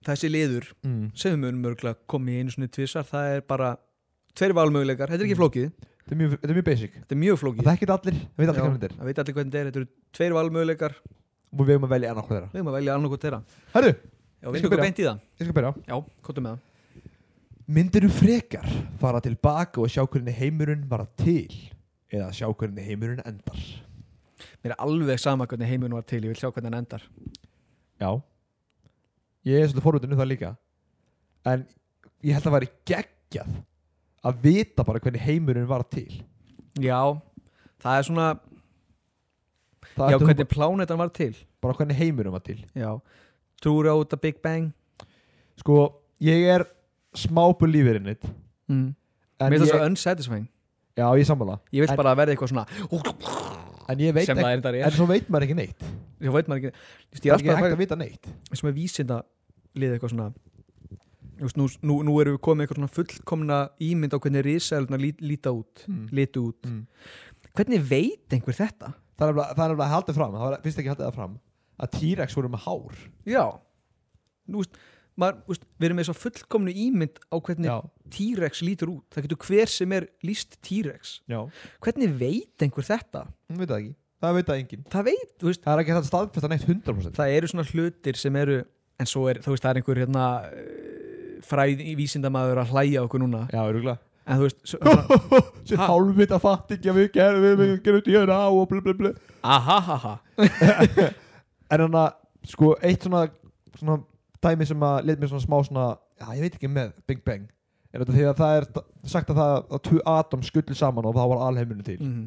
Speaker 3: þessi liður
Speaker 2: Mm.
Speaker 3: sem við munum örgulega komið í einu svona tvisar það er bara tveir valmöguleikar þetta er ekki flókið,
Speaker 2: Þetta er mjög, þetta er mjög basic
Speaker 3: þetta er mjög
Speaker 2: Það
Speaker 3: flókið
Speaker 2: þekkir þetta allir, það veit allir
Speaker 3: Já,
Speaker 2: hvað þetta er
Speaker 3: það veit allir hvernig þetta er, þetta eru tveir valmöguleikar við
Speaker 2: Og við erum að velja annað hvað þeirra
Speaker 3: höfum að velja annað hvort þeirra
Speaker 2: Herru,
Speaker 3: já,
Speaker 2: Ég
Speaker 3: við
Speaker 2: skal
Speaker 3: höfum
Speaker 2: byrja.
Speaker 3: beint í það,
Speaker 2: ég skal byrja
Speaker 3: já, kóttu með það
Speaker 2: Myndirðu frekar fara tilbaka og sjá hvernig heimurinn var til Eða sjá hvernig heimurinn endar
Speaker 3: mér er alveg sama hvernig heiminn var til, ég vil sjá hvernig hann endar
Speaker 2: Já Ég er svolítið forvitinu það líka En ég held að væri geggjað Að vita bara hvernig heimurinn var til
Speaker 3: já, það er svona
Speaker 2: Það
Speaker 3: já,
Speaker 2: ertu
Speaker 3: hvernig plánetan var til
Speaker 2: bara hvernig heimurinn var til
Speaker 3: já, trúur á þetta Big Bang
Speaker 2: Sko, ég er smápu lífurinn þitt
Speaker 3: mm.
Speaker 2: En
Speaker 3: mér er það
Speaker 2: ég,
Speaker 3: svo unsatisfying
Speaker 2: já, ég sammála
Speaker 3: ég vil
Speaker 2: En-
Speaker 3: bara að verða eitthvað svona
Speaker 2: En ég veit
Speaker 3: sem
Speaker 2: ekki
Speaker 3: það er þetta
Speaker 2: En
Speaker 3: er,
Speaker 2: svo veit maður ekki neitt
Speaker 3: ég veit maður ekki Þú veist,
Speaker 2: Það
Speaker 3: ég
Speaker 2: er
Speaker 3: er
Speaker 2: ekki
Speaker 3: alltaf að
Speaker 2: hægt að vita neitt
Speaker 3: sem er vísinda liðið eitthvað svona Þú veist, nú, nú, nú erum við komið eitthvað svona fullkomna ímynd á hvernig risaðurna lít, líta út
Speaker 2: Mm.
Speaker 3: litu út
Speaker 2: Mm.
Speaker 3: hvernig veit einhver þetta?
Speaker 2: það er nefnilega- það er nefnilega að halda fram það var fyrst ekki haldið það fram að T-Rex voru með hár
Speaker 3: já nú, veist, maður, þú veist, við erum með svo fullkomnu ímynd á hvernig T-Rex lítur út það getur hver sem er líst T-Rex
Speaker 2: já
Speaker 3: hvernig veit einhver þetta?
Speaker 2: hún veit það ekki það veit það enginn
Speaker 3: það veit, þú veist,
Speaker 2: það er ekki hægt að staðfesta neitt 100%
Speaker 3: það eru svona hlutir sem eru en svo er, þú veist, það er einhver hérna eh, fræð í vísindamaður að hlæja okkur núna
Speaker 2: já, öruglega
Speaker 3: en þú veist, svo- svona,
Speaker 2: sér hálfitt að fatt ekki að við gerum við, við gerum þetta í hérna á og blu blu blu
Speaker 3: ahahaha
Speaker 2: en þannig að sko eitt svona svona dæmi sem að lit mér svona smá svona já ég veit ekki með Big Bang er þetta því að það er sagt að það að tvö atom skullu saman og þá var alheimurinn til
Speaker 3: mm.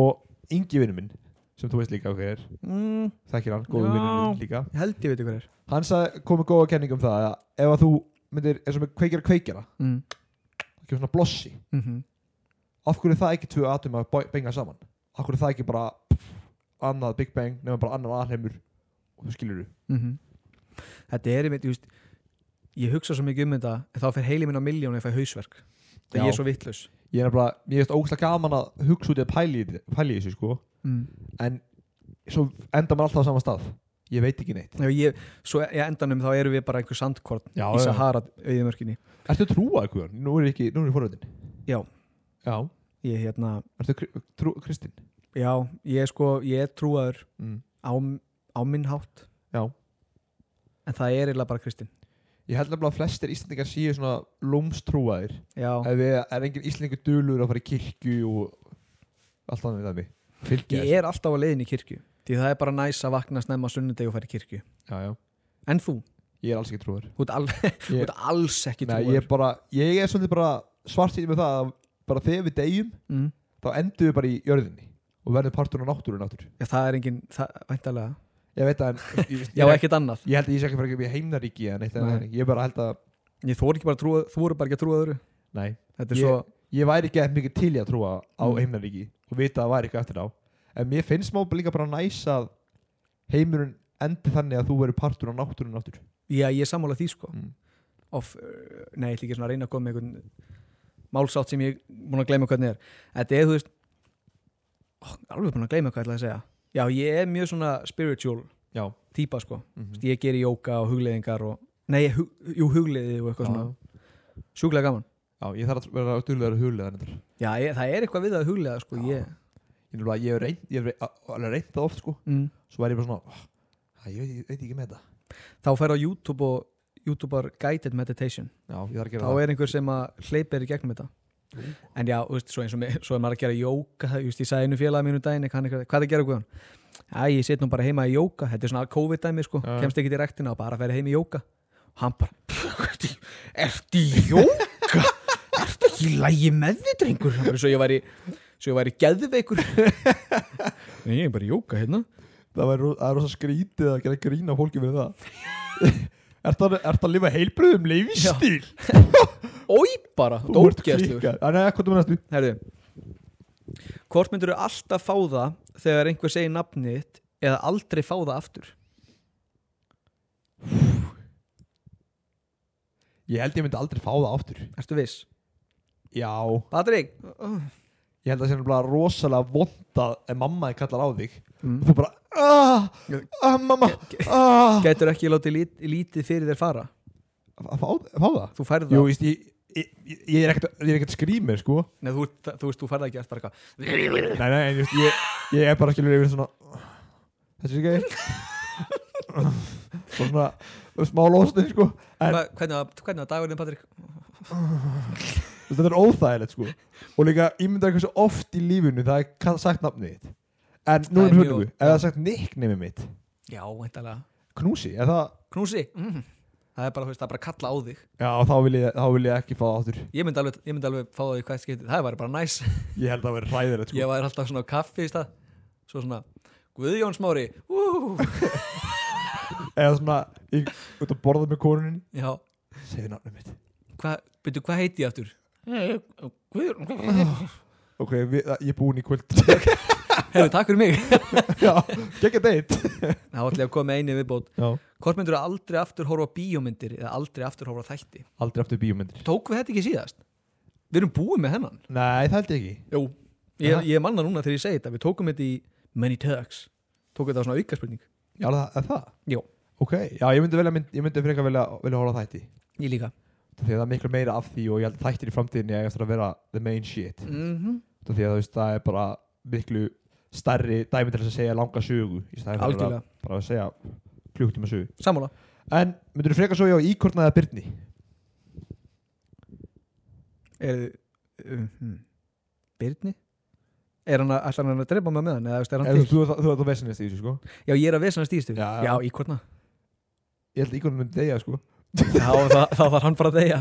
Speaker 2: og yngi vinnu minn sem þú veist líka hver er
Speaker 3: Mm,
Speaker 2: þekkir hann góðu
Speaker 3: Já.
Speaker 2: vinnu minn líka
Speaker 3: ég held ég veit hver er
Speaker 2: hann sagði, kom með góða kenning um það að ef að þú myndir eins og með kveikjara kveikjara
Speaker 3: mm.
Speaker 2: það kemur svona blossi
Speaker 3: Mm
Speaker 2: af hverju er það ekki tvö atum að bæ- benga saman af hverju er það ekki bara pff, annað Big Bang nema bara annar alheimur og þú skilur þú
Speaker 3: mhm. Þetta er einmitt, ég veist Ég hugsa svo mikið um þetta en þá fer heili minn á milljón ef ég fæ hausverk Það ég
Speaker 2: Já.
Speaker 3: er svo vittlaus
Speaker 2: ég er nefnilega, ég veist ógæslega gaman að hugsa út í að pæli, í þi- pæli í þessu sko
Speaker 3: mm.
Speaker 2: en svo endar maður alltaf á sama stað ég veit ekki neitt
Speaker 3: Já, ég, Svo ég endanum þá erum við bara einhver sandkorn
Speaker 2: Já,
Speaker 3: í
Speaker 2: já.
Speaker 3: Sahara auðumörkinni
Speaker 2: ertu að trúa eitthvað, nú er ég ekki, nú er ég foröðin
Speaker 3: Já.
Speaker 2: já,
Speaker 3: Ég hérna,
Speaker 2: ertu kri- trú, Kristinn
Speaker 3: já, ég er sko, ég er trúaður
Speaker 2: mm.
Speaker 3: á, á minn hátt
Speaker 2: já,
Speaker 3: en það er eiginlega bara Kristinn
Speaker 2: ég held nefnilega að flestir Íslandingar séu svona lómstrúaðir
Speaker 3: Já,
Speaker 2: ef við er engin íslendingur dölur að fara í kirkju og allt annað dæmi fylgja
Speaker 3: ég er alltaf á leiðin í kirkju því það er bara næs að vakna snemma á sunnudegi og fara í kirkju
Speaker 2: þessu. já, já.
Speaker 3: En þú,
Speaker 2: ég er alls ekki trúar
Speaker 3: þú ert al, þú ert alls ekki
Speaker 2: Nei,
Speaker 3: trúaður
Speaker 2: ég, er bara, ég er svolítið bara svartýtt með það að bara þegar við deyjum
Speaker 3: mm.
Speaker 2: þá endum við bara í jörðinni og verðum partur á náttúru náttúru
Speaker 3: Já, það er engin, það, væntalega
Speaker 2: ég veit að en, ég,
Speaker 3: Já,
Speaker 2: ég,
Speaker 3: ekkert annað
Speaker 2: ég held að ég sé ekki fyrir ekki heimnaríki eða neitt,
Speaker 3: Nei.
Speaker 2: nei. ég bara held að
Speaker 3: Ég þóri ekki bara að trúa, þú voru bara ekki að trúa öðru
Speaker 2: nei,
Speaker 3: Þetta er
Speaker 2: Ég-
Speaker 3: svo,
Speaker 2: ég væri ekki eða mikið til í að trúa á
Speaker 3: Mm.
Speaker 2: heimnaríki og vita að það væri eitthvað eftir á en mér finnst smá líka bara næs að heimurinn endi þannig að þú verður partur á náttúrun aftur
Speaker 3: Já, ég er sammála því sko
Speaker 2: Mm.
Speaker 3: of, uh, Nei, ég ætla ekki svona að reyna að koma með einhvern málsátt sem ég er búin að gleyma hvernig er Þetta er, þú veist ó, alveg búin að gleyma hvað ég ætla að segja Já, ég er mjög svona spiritual
Speaker 2: já,
Speaker 3: típa sko,
Speaker 2: mm
Speaker 3: Þú veist, ég gerir jóka og hugleiðingar og, nei, hug, jú, hugleiði og eitthvað svona, sjúklega gaman
Speaker 2: já, ég þarf að vera duðlegar huglegar reyndar.
Speaker 3: Já, ég, það er eitthvað við að hugleiða sko,
Speaker 2: Já.
Speaker 3: ég
Speaker 2: ég nefnilega- ég hef reynt- ég hef reynt- a- alveg reynt það oft sko
Speaker 3: mm.
Speaker 2: svo væri ég bara svona "Ah, það, ég, veit, ég veit ekki með þetta
Speaker 3: Þá fer á YouTube og YouTuber Guided Meditation
Speaker 2: já, ég þarf að gera
Speaker 3: þá
Speaker 2: það
Speaker 3: er einhver sem að hleypir í gegnum þetta en já, þú veist, svo eins og með, svo er maður að gera jóka það, þú veist, ég sagði einu félagi mínu um daginn hann, eitthvað, hvað er að gera Guðjón? Já, ég sit nú bara heima í jóka, þetta er svona COVID-dæmi sko,
Speaker 2: Já.
Speaker 3: kemst ekki til rektina og bara ferði heim í jóka og hann bara, "Pff, ertu í jóka? ertu ekki í lægi með þig, drengur? Hann bara, Svo ég væri, svo ég væri geðveikur Nei, ég er bara í jóka hérna
Speaker 2: það væri ro- það er rosa skrítið að gera grína fólki með það Ert að, ert að lifa heilbröðum leifistíl?
Speaker 3: Ói bara, þetta er ógeðslegur
Speaker 2: Nei, hvað er með næstu?
Speaker 3: Herðu Hvort myndur þú alltaf fá það þegar einhver segir nafnið þitt eða aldrei fá það aftur
Speaker 2: Ég held ég myndi aldrei fá það aftur
Speaker 3: Ertu viss?
Speaker 2: Já
Speaker 3: Patrik
Speaker 2: Ég held að það sé bara rosalega vonda ef mamma þið kallar á þig
Speaker 3: Mm.
Speaker 2: og þú bara aah, aah, mamma aah
Speaker 3: Getur ekki látið lít, lítið fyrir þér fara
Speaker 2: að fá, að fá það?
Speaker 3: Þú færð það
Speaker 2: Jú, víst, ég, ég, ég, ég er ekkert ég er ekkert skrýmir sko
Speaker 3: Nei, þú, ert- þú veist, þú færð það ekki eftir bara eitthvað
Speaker 2: Nei, nei, en just, ég, ég er bara skilur yfir svona Þessi er ekki Svona smá lostin sko En-
Speaker 3: Hva- Hvernig var- hvernig var dagurinn Patrik?
Speaker 2: Þú veist, Þetta er óþægilegt sko Og líka ímynda eitthvað svo oft í lífinu Það er kall- sagt nafnið þitt En nú
Speaker 3: Það er
Speaker 2: er
Speaker 3: mjög-
Speaker 2: hörningu, ef það er sagt nicknemi mitt
Speaker 3: Já, veintalega
Speaker 2: Knúsi, ef það
Speaker 3: Knúsi mm. Það er bara, þú veist, það er bara að kalla á þig
Speaker 2: Já, þá vil ég, þá vil ég ekki fá það áttur
Speaker 3: Ég myndi alveg, ég myndi alveg fá það í hvert skipti Það væri bara næs
Speaker 2: Ég held að það verið hræðilegt sko
Speaker 3: Ég væri alltaf svona á kaffi í stað Svo svona Guðjón Smári Ú,
Speaker 2: Eða svona, ég út að borða með konunin
Speaker 3: Já,
Speaker 2: Segðu nafnið mitt
Speaker 3: hvað, byrju, hvað heiti ég aftur?
Speaker 2: Ok, við, það- ég er búinn í kvöld
Speaker 3: Herru, takk fyrir mig
Speaker 2: Já, geggja deitt
Speaker 3: Það var allir að koma með einu viðbót
Speaker 2: Já,
Speaker 3: Hvort myndur þú aldrei aftur horfa á bíómyndir eða aldrei aftur horfa á þætti?
Speaker 2: aldrei aftur bíómyndir
Speaker 3: Tók við þetta ekki síðast? Við erum búið með hennan
Speaker 2: Nei, það held ég ekki
Speaker 3: Jú Ég,
Speaker 2: Aha.
Speaker 3: ég manna núna þegar ég segi þetta Við tókum þetta í many tugs Tókum þetta á svona aukaspurning
Speaker 2: Já, það, er það
Speaker 3: Jú,
Speaker 2: Ok, já, ég myndi, velja, mynd- ég myndi frekar velja, velja horfa á þætti
Speaker 3: ég líka
Speaker 2: Þegar það er miklu meira af því og ég held að þættir í framtíðinni eiga eftir að vera the main shit
Speaker 3: mm
Speaker 2: Út af því að þú veist, það er bara miklu stærri dæmi til þess að segja langa sögu í stæði fyrir
Speaker 3: Algjörlega.
Speaker 2: að bara að segja klukkutíma sögu
Speaker 3: Sammála
Speaker 2: en myndur þú frekar svo ég á íkornaða Byrni
Speaker 3: Er uh, hmm. Birni? Er hann að, ætlar hann að drepa mig með hann? Eða, þú veist, er
Speaker 2: Ef
Speaker 3: hann til?
Speaker 2: þú, þú, þú, þú vesinist í þessu sko
Speaker 3: Já, ég er að vesana stýstu
Speaker 2: Já.
Speaker 3: Já í hvortna
Speaker 2: ég held að íkornaða myndi deyja sko
Speaker 3: Já, það, það var hann bara að deyja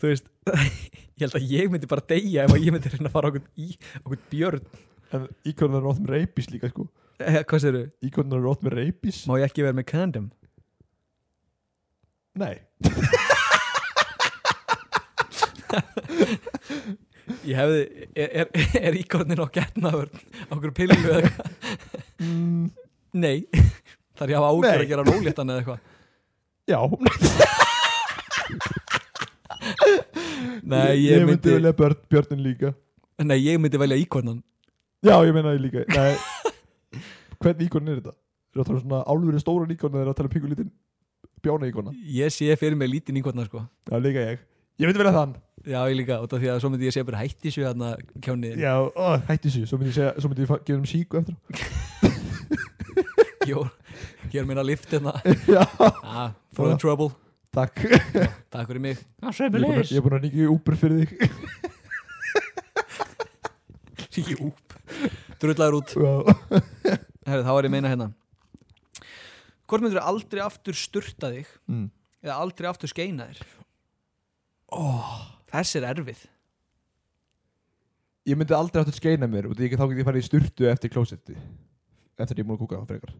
Speaker 3: Þú veist, ég held að ég myndi bara deyja ef að ég myndi reyna að fara okkur í okkur björn
Speaker 2: en íkornaða er ótt með reipis líka sko
Speaker 3: eh, Hvað segirðu?
Speaker 2: íkornaða er ótt með reipis
Speaker 3: Má ég ekki vera með condom?
Speaker 2: nei
Speaker 3: Ég hefði, er, er, er íkornin og getnaður okkur pillu eða eitthvað?
Speaker 2: mm,
Speaker 3: Nei Það er ég að hafa ágjör
Speaker 2: Nei.
Speaker 3: að gera róléttan eða eitthvað
Speaker 2: já
Speaker 3: Nei, ég, myndi,
Speaker 2: velja börn, Björnin líka
Speaker 3: Nei, ég myndi velja íkornan
Speaker 2: já ég meina ég líka nei hvernig íkorn er þetta er það að tala um svona álfurinn stóran íkorn eða er það að tala um pingu lítinn bjána íkorna
Speaker 3: Ég sé fyrir mig lítinn íkornan sko
Speaker 2: já líka ég ég myndi velja þann
Speaker 3: Já, ég líka, út af því að svo myndi ég sé bara hætti svo hérna kjánið
Speaker 2: já ó, hætti þessu svo myndi ég segja svo myndi ég fa- gefa um síku eftir á.
Speaker 3: Jór, hér minna lift hérna
Speaker 2: já
Speaker 3: ah, For the trouble,
Speaker 2: takk
Speaker 3: takk fyrir mig
Speaker 2: Ég er búinn að- ég er búin að nýja í Uber fyrir þig
Speaker 3: Jú, drullar út
Speaker 2: Já.
Speaker 3: Herri, þá var ég að meina hérna Hvort myndur aldrei aftur sturta þig
Speaker 2: Mm.
Speaker 3: eða aldrei aftur skeina þér oh. Þessi er erfið
Speaker 2: ég myndi aldrei aftur skeina mér og því þá get ég farið í sturtu eftir klósetti eftir að ég er múin að kúka á frekar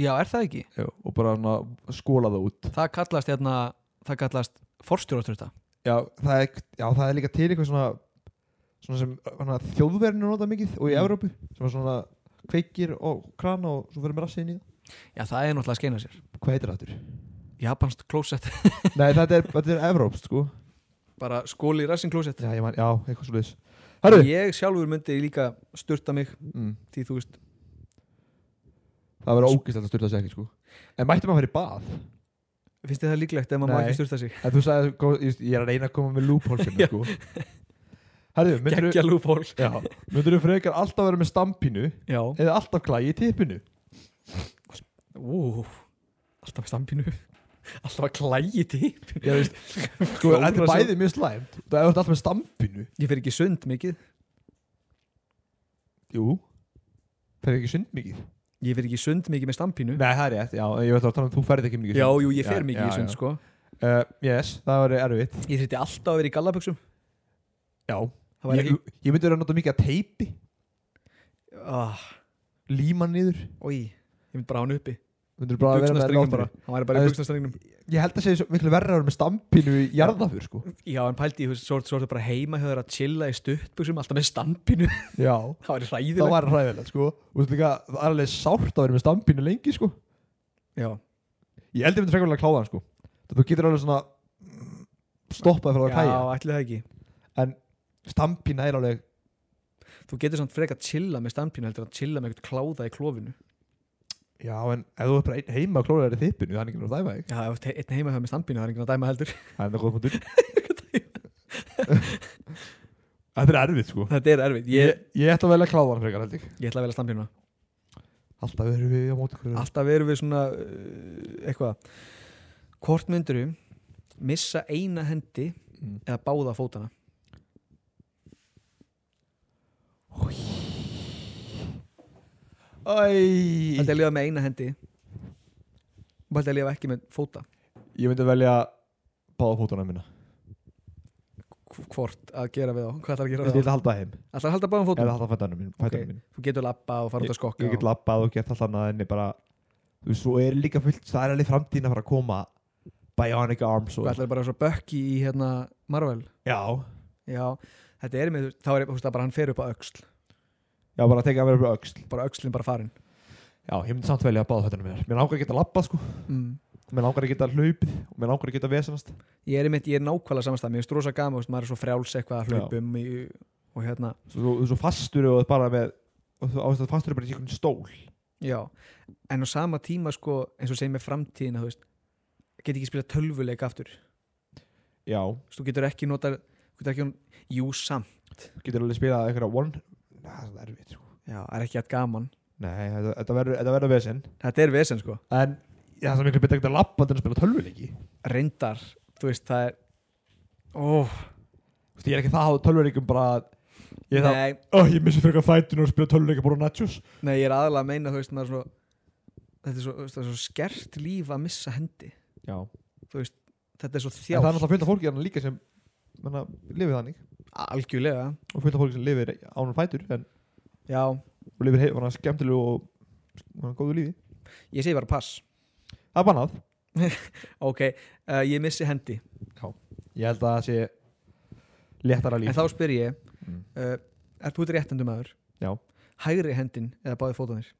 Speaker 3: Já, er það ekki?
Speaker 2: Já, og bara hana, skóla það út
Speaker 3: Það kallast hérna það kallast forstjóraturta
Speaker 2: já það, er, já, það er líka til eitthvað svona, svona sem hana, þjóðverðinu nota mikið og í
Speaker 3: Mm.
Speaker 2: Evrópu sem er svona kveikir og krana og svo fyrir með rassin í það
Speaker 3: Já, það er náttúrulega að skeina sér
Speaker 2: hvað heitir það aftur?
Speaker 3: Japanst klósett,
Speaker 2: Nei, þetta er, þetta er evrópst sko
Speaker 3: bara skóli í rassin klósett
Speaker 2: Já, ég man, já, eitthvað svo leiðis Herru,
Speaker 3: Ég sjálfur myndi líka sturta mig
Speaker 2: mm,
Speaker 3: því þú veist,
Speaker 2: það verður ógæslega að styrta sig ekki sko En mættum að fara í bað
Speaker 3: finnst þið það líklegt ef maður má
Speaker 2: Nei.
Speaker 3: ekki sturta sig
Speaker 2: En þú sagði, kom, ég, ég er að reyna að koma með lúphólsinu sko Herru, myndur
Speaker 3: Gekkja lúból
Speaker 2: þú frekar alltaf vera með stampínu
Speaker 3: Já,
Speaker 2: eða alltaf klæði í tippinu
Speaker 3: ú, alltaf með stampinu Alltaf að klægi tip
Speaker 2: Ég veist, sko,
Speaker 3: Klóra
Speaker 2: þetta
Speaker 3: sig.
Speaker 2: er bæði mjög slæmt Það er alltaf með stampínu
Speaker 3: Ég fer ekki í sund mikið
Speaker 2: Jú Fer ekki sund mikið?
Speaker 3: Ég fer ekki í sund mikið með stampinu
Speaker 2: Nei, það er rétt, já, ég veit að tala um þú ferð ekki mikið
Speaker 3: Já,
Speaker 2: sund.
Speaker 3: jú, ég fer
Speaker 2: Já,
Speaker 3: mikið
Speaker 2: já,
Speaker 3: í sund
Speaker 2: já.
Speaker 3: sko
Speaker 2: uh, Yes, það var erfitt
Speaker 3: Ég þurfti alltaf að vera í gallaböksum
Speaker 2: Já,
Speaker 3: Það var
Speaker 2: ég,
Speaker 3: ekki
Speaker 2: ég myndi vera að nota mikið að teipi
Speaker 3: ah,
Speaker 2: Líma niður
Speaker 3: Í, ég myndi bara á hann uppi
Speaker 2: Myndir bara að vera með
Speaker 3: Buxnastrengnum bara
Speaker 2: látri.
Speaker 3: Hann væri bara
Speaker 2: Það
Speaker 3: í
Speaker 2: er-
Speaker 3: buksnastrengnum
Speaker 2: Ég held að segja svo miklu verra að vera með stampinu í jarðafur sko
Speaker 3: Já, en pældi, ég, þú veist, svo svo er það bara heima hjá þeirra að chilla í stuttbuksum Alltaf með stampinu
Speaker 2: Já
Speaker 3: Það væri
Speaker 2: Það
Speaker 3: hræðilegt
Speaker 2: var hræðilegt sko Og þú líka, það er alveg sárt að vera með stampinu lengi sko
Speaker 3: Já,
Speaker 2: Ég held ég myndi frekar vel að kláða hann sko Það þú getur alveg svona Stoppaði frá að
Speaker 3: já
Speaker 2: kæja
Speaker 3: ætli það ekki
Speaker 2: Stampina er alveg
Speaker 3: Þú getur samt frekar að chilla með stampinu heldur en að chilla með eitthvað kláða í klófinu
Speaker 2: Já, en ef þú er bara einn heima að klóða þér í þippinu Það er ekki náttúrulega dæma þig
Speaker 3: Já, ef þú ert einn heima hjá með stampinu, það er enginn að dæma heldur
Speaker 2: Það er það góð punktur Þetta er erfitt sko
Speaker 3: Þetta er erfitt,
Speaker 2: Ég,
Speaker 3: ég,
Speaker 2: ég ætla að velja kláðan frekar held ég
Speaker 3: ég ætla að velja stampinu
Speaker 2: Alltaf erum við á móti hverju
Speaker 3: Alltaf erum við svona uh, eitthvað Hvort myndur missa eina hendi
Speaker 2: Mm.
Speaker 3: eða báða fótana
Speaker 2: Æ,
Speaker 3: Þetta er lifa með eina hendi og þetta er lifa ekki með fóta
Speaker 2: Ég myndi velja báða fótana mína
Speaker 3: Hv- Hvort að gera við þá, hvað ætlar að
Speaker 2: Ég
Speaker 3: gera
Speaker 2: ætla
Speaker 3: við þá
Speaker 2: að halda þeim
Speaker 3: Ætlar að halda báðum
Speaker 2: Eða
Speaker 3: fótum
Speaker 2: halda fætana mín,
Speaker 3: Ok.
Speaker 2: fætana mín.
Speaker 3: Þú getur lappa og fara út að skokka
Speaker 2: Ég get
Speaker 3: og...
Speaker 2: labbað og gert allt annað En ég bara Þú veist, svo er líka fullt Það er alveg framtíðin að fara að koma Bionic Arms
Speaker 3: Þú
Speaker 2: og
Speaker 3: ætlar bara svo bökki í hérna Marvel
Speaker 2: Já
Speaker 3: Já, þetta er með, þá er þú veist, það bara hann fer upp á öxl
Speaker 2: Já, bara að teka að vera upp á öxl
Speaker 3: bara öxlin bara farin
Speaker 2: Já, ég myndi samt velja báða fætana mína Mér langar að geta labbað sko
Speaker 3: mm.
Speaker 2: Mér langar að geta hlaupið og Mér langar að geta vesenast
Speaker 3: Ég er einmitt, ég er nákvæmlega samastað mér finnst rosa gama, veist, maður er svo frjáls eitthvað að
Speaker 2: Já.
Speaker 3: hlaupum í, og hérna,
Speaker 2: Svo- Þú þú er svo fastur og bara með og Þú ást að fastur er bara í einhvern stól
Speaker 3: já en á sama tíma sko, eins og segir með framtíðina þú veist, get ekki spila tölvuleik aftur, Þú
Speaker 2: Já
Speaker 3: veist, þú getur ekki nota þú getur ekki, jú samt
Speaker 2: Þú getur alveg spilað einhverja one Nei, það er erfitt sko
Speaker 3: já, það er ekki að gaman,
Speaker 2: Nei, þetta þetta verður þetta verður vesen
Speaker 3: þetta er vesen sko
Speaker 2: En ég það er miklu betur að geta labbað en að spila tölvuleiki
Speaker 3: reyndar, þú veist, það er ó,
Speaker 2: Þú veist, ég er ekki það að hafa tölvuleikum bara að Ég er það,
Speaker 3: nei,
Speaker 2: oh, ég missi fyrir eitthvað þættinu og spila tölvuleika bara á nachos
Speaker 3: nei ég er aðalega að meina, þú veist, maður er svo þetta er svo, þú veist, það er svo skert líf að missa hendi,
Speaker 2: Já En
Speaker 3: þú veist þetta er svo
Speaker 2: það er
Speaker 3: þjátt,
Speaker 2: náttúrulega fullt af fólki hérna líka sem menna, lifið þannig
Speaker 3: algjörlega
Speaker 2: og fullt af fólki sem lifir ánum fætur en,
Speaker 3: já,
Speaker 2: og lifir hei- svona skemmtilegu og svona góðu lífi
Speaker 3: ég segi bara pass
Speaker 2: Það er bannað
Speaker 3: ok, uh, ég missi hendi
Speaker 2: Ég held að það sé léttara líf
Speaker 3: En þá spyr ég
Speaker 2: Mm.
Speaker 3: uh, Er þú réttendum maður?
Speaker 2: Já.
Speaker 3: Hægri hendin eða báði fótanir?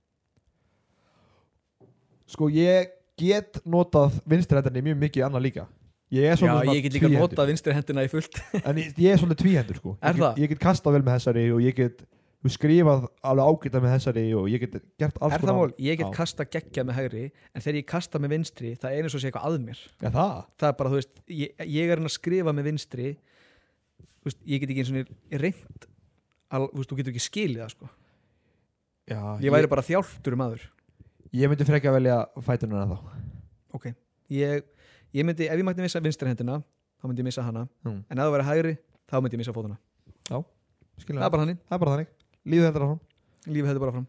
Speaker 2: Sko ég get notað vinstrihendinni mjög mikið annað líka Ég er
Speaker 3: Já,
Speaker 2: svolítið svona
Speaker 3: ég get líka
Speaker 2: tvíhendur.
Speaker 3: notað vinstri hendina í fullt
Speaker 2: En ég, ég er svolítið tvíhendur sko
Speaker 3: Er
Speaker 2: ég
Speaker 3: það?
Speaker 2: get, ég get kastað vel með þessari og ég get þú, skrifað alveg ágæta með þessari og ég get gert alls
Speaker 3: Er það mál? Ég get
Speaker 2: Já.
Speaker 3: kasta geggja með hægri En þegar ég kasta með vinstri, það er eins og sé eitthvað að mér
Speaker 2: Ja, það?
Speaker 3: Það er bara, þú veist, ég, ég er hann að skrifa með vinstri Þú veist, ég get ekki eins og reynd al, Þú veist, þú getur ekki skilið það, sko
Speaker 2: Já,
Speaker 3: Ég væri bara þjálftur maður
Speaker 2: ég myndi frekja að velja fætununa þá
Speaker 3: Ok, ég, ég myndi, ef ég mætti missa vinstri hendina Þá myndi ég missa hana
Speaker 2: Mm.
Speaker 3: En ef það væri hægri, þá myndi ég missa fótana
Speaker 2: Skilja
Speaker 3: Það er bara hannig,
Speaker 2: það er bara þannig Lífið heldur áfram
Speaker 3: lífið hefði bara fram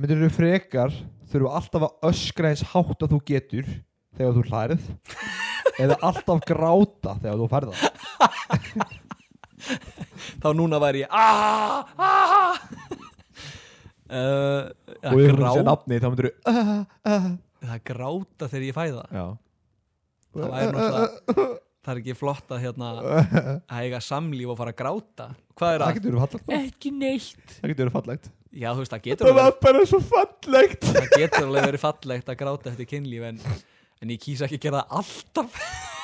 Speaker 2: Myndir þú frekar þurfa alltaf að öskra eins hátt að þú getur þegar þú hlærið eða alltaf gráta þegar þú færða
Speaker 3: þá núna væri ég
Speaker 6: "Ah,
Speaker 3: aaaah aaaah
Speaker 6: Eh,
Speaker 3: uh,
Speaker 2: og
Speaker 3: það,
Speaker 2: ég
Speaker 3: grá,
Speaker 2: sé nafni þá myndir þú uh, uh,
Speaker 3: það gráta þegar ég fæða
Speaker 2: Já
Speaker 3: það væri náttúrulega það er ekki flott að hérna að eiga samlíf og fara að gráta hvað er
Speaker 2: Það
Speaker 3: að?
Speaker 2: getur verið fallegt
Speaker 5: Ekki neitt
Speaker 2: Það getur verið fallegt
Speaker 6: Já, þú veist, það getur
Speaker 2: Þetta var
Speaker 6: alveg,
Speaker 2: bara svo fallegt
Speaker 6: það getur alveg verið fallegt að gráta eftir kynlíf en, en ég kýsa ekki að gera það alltaf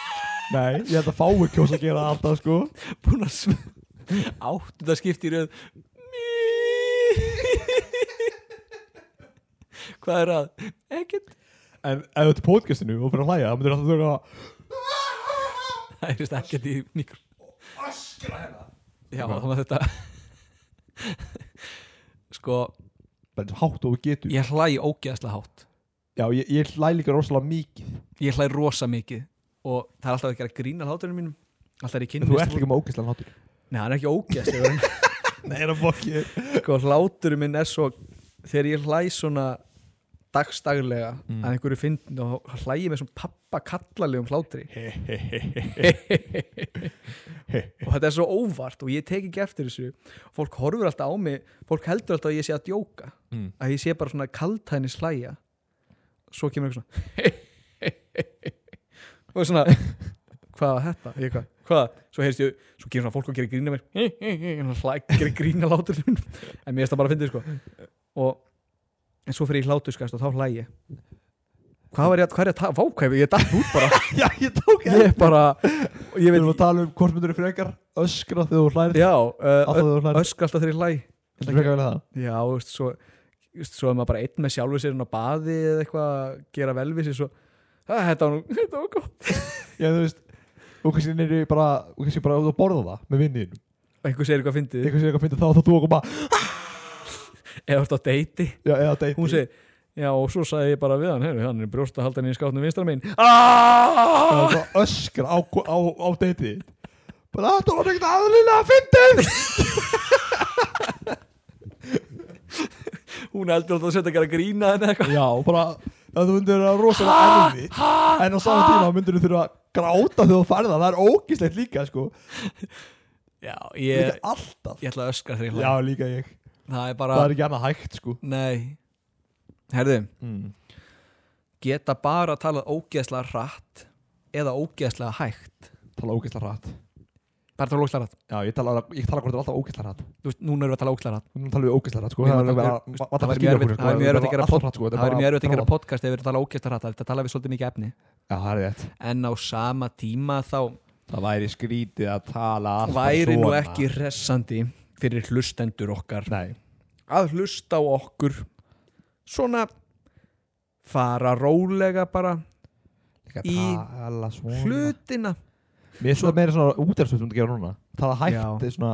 Speaker 2: Nei, ég held að fái kjós að gera það alltaf sko
Speaker 6: búin að sm... áttunda skipti í röð Hvað er að? Ekkert
Speaker 2: En ef þú ert í podcastinu og fyrir að hlæja Það myndir alltaf þurfa að
Speaker 6: Það er vist ekkert í mikro Öskra hérna Já, þannig að þetta Sko,
Speaker 2: Bara eins hátt og þú getur
Speaker 6: ég hlæ ógeðslega hátt
Speaker 2: Já, ég, ég hlæ líka rosalega mikið
Speaker 6: Ég hlæ rosa mikið og það er alltaf að gera grín að hátunum mínum Alltaf er ég
Speaker 2: En
Speaker 6: kynlist
Speaker 2: þú ert líka með ógæslega hátur
Speaker 6: Nei, hann er ekki ógeðslega en
Speaker 2: Nei, það fokki
Speaker 3: sko hláturinn minn er svo þegar ég hlæ svona dagstaglega
Speaker 2: Mm.
Speaker 3: að einhverju fyndin og þá hlæ ég með svona pappa kallalegum hlátri og þetta er svo óvart og ég tek ekki eftir þessu fólk horfur alltaf á mig fólk heldur alltaf að ég sé að djóka
Speaker 2: Mm.
Speaker 3: að ég sé bara svona kaltænis hlæja svo kemur eitthvað svona og svona hvað var þetta? Ég, hvað? hvað? Svo heyrst ég, svo kemur svona fólk og gerir grína mér og hlæ, gerir grína látur en mér er það bara að fyndið sko og en svo fyrir ég hlátur skast og þá hlæ ég hvað var ég að, hvað er ég að ta- vá, hvað er ég að datt út bara
Speaker 2: Já, ég tók
Speaker 3: ég er bara, ég
Speaker 2: Við
Speaker 3: veit
Speaker 2: erum að tala um hvort myndir þú frekar öskra þegar þú hlæðir
Speaker 3: Já,
Speaker 2: Alltaf
Speaker 3: uh,
Speaker 2: þegar þú hlæðir
Speaker 3: öskra alltaf þegar ég hlæ
Speaker 2: Þú frekar vel að það
Speaker 3: Já, þú veist, svo, þú veist, svo er maður bara einn með sjálfu sér inn á baði eða eitthvað að gera vel við sér svo "Ah, Þetta var nú, þetta var gott
Speaker 2: Já, þú veist Og kannski neyri bara Og kannski bara út að borða það með vinninn
Speaker 3: Einhver segir eitthvað fyndið,
Speaker 2: Eitthvað sem ég finnir þá þá þú okkur bara
Speaker 3: eða þú ert á deiti
Speaker 2: Já, eða deyti
Speaker 3: Hún segir, já og svo sagði ég bara við hann heyrðu, hann er brjósta haldan í skátnum vinstra mín Aaaaaaah
Speaker 2: Það var öskra á, á, á deyti Bara þetta var ekkert aðlilega fyndið
Speaker 6: Hún heldur alltaf að setja að gera grína en eitthvað
Speaker 2: Já, bara Það þú myndir vera rosalega erfi En á saman tíma myndir þú þurfa að gráta þegar þú færða Það er ógislegt líka, sko
Speaker 6: Já,
Speaker 2: Líka
Speaker 6: ég,
Speaker 2: alltaf
Speaker 6: ég ætla að öskra þegar ég
Speaker 2: Já,
Speaker 6: hlæ
Speaker 2: líka ég
Speaker 6: Það er bara,
Speaker 2: Það er ekki annað hægt, sko
Speaker 6: nei Herðu,
Speaker 2: mm.
Speaker 6: geta bara að tala ógeðslega hratt eða ógeðslega hægt
Speaker 2: Tala ógislega rætt
Speaker 6: bara tala ógeðslega hrætt
Speaker 2: Já, ég tala, ég tala hvort er alltaf ógislega rætt
Speaker 6: þú veist, núna erum við að tala ógeðslega hrætt
Speaker 2: Nú talum við ógislega rætt, sko
Speaker 6: Við erum
Speaker 2: Það er
Speaker 6: að
Speaker 2: bara
Speaker 6: tala-
Speaker 2: Það
Speaker 6: það
Speaker 2: er
Speaker 6: var mjög erfitt- það er mjög erfitt að gera pod-
Speaker 2: sko.
Speaker 6: það er mjög erfitt að gera
Speaker 2: pott
Speaker 6: podcast eða við erum að tala ógeðslega hrætt það er að tala við svolítið mikið efni
Speaker 2: Já, það er rétt
Speaker 6: en á sama tíma þá
Speaker 2: Það væri skrítið að tala alltaf
Speaker 6: væri nú
Speaker 2: svona.
Speaker 6: ekki hressandi fyrir hlustendur okkar
Speaker 2: Nei,
Speaker 6: að hlusta á okkur svona fara rólega bara
Speaker 2: ekki
Speaker 6: Í
Speaker 2: að tala svona
Speaker 6: hlutina
Speaker 2: Mér finnst það meira svona útjársvöld um að gera núna Tala hægt,
Speaker 6: Já.
Speaker 2: þetta er svona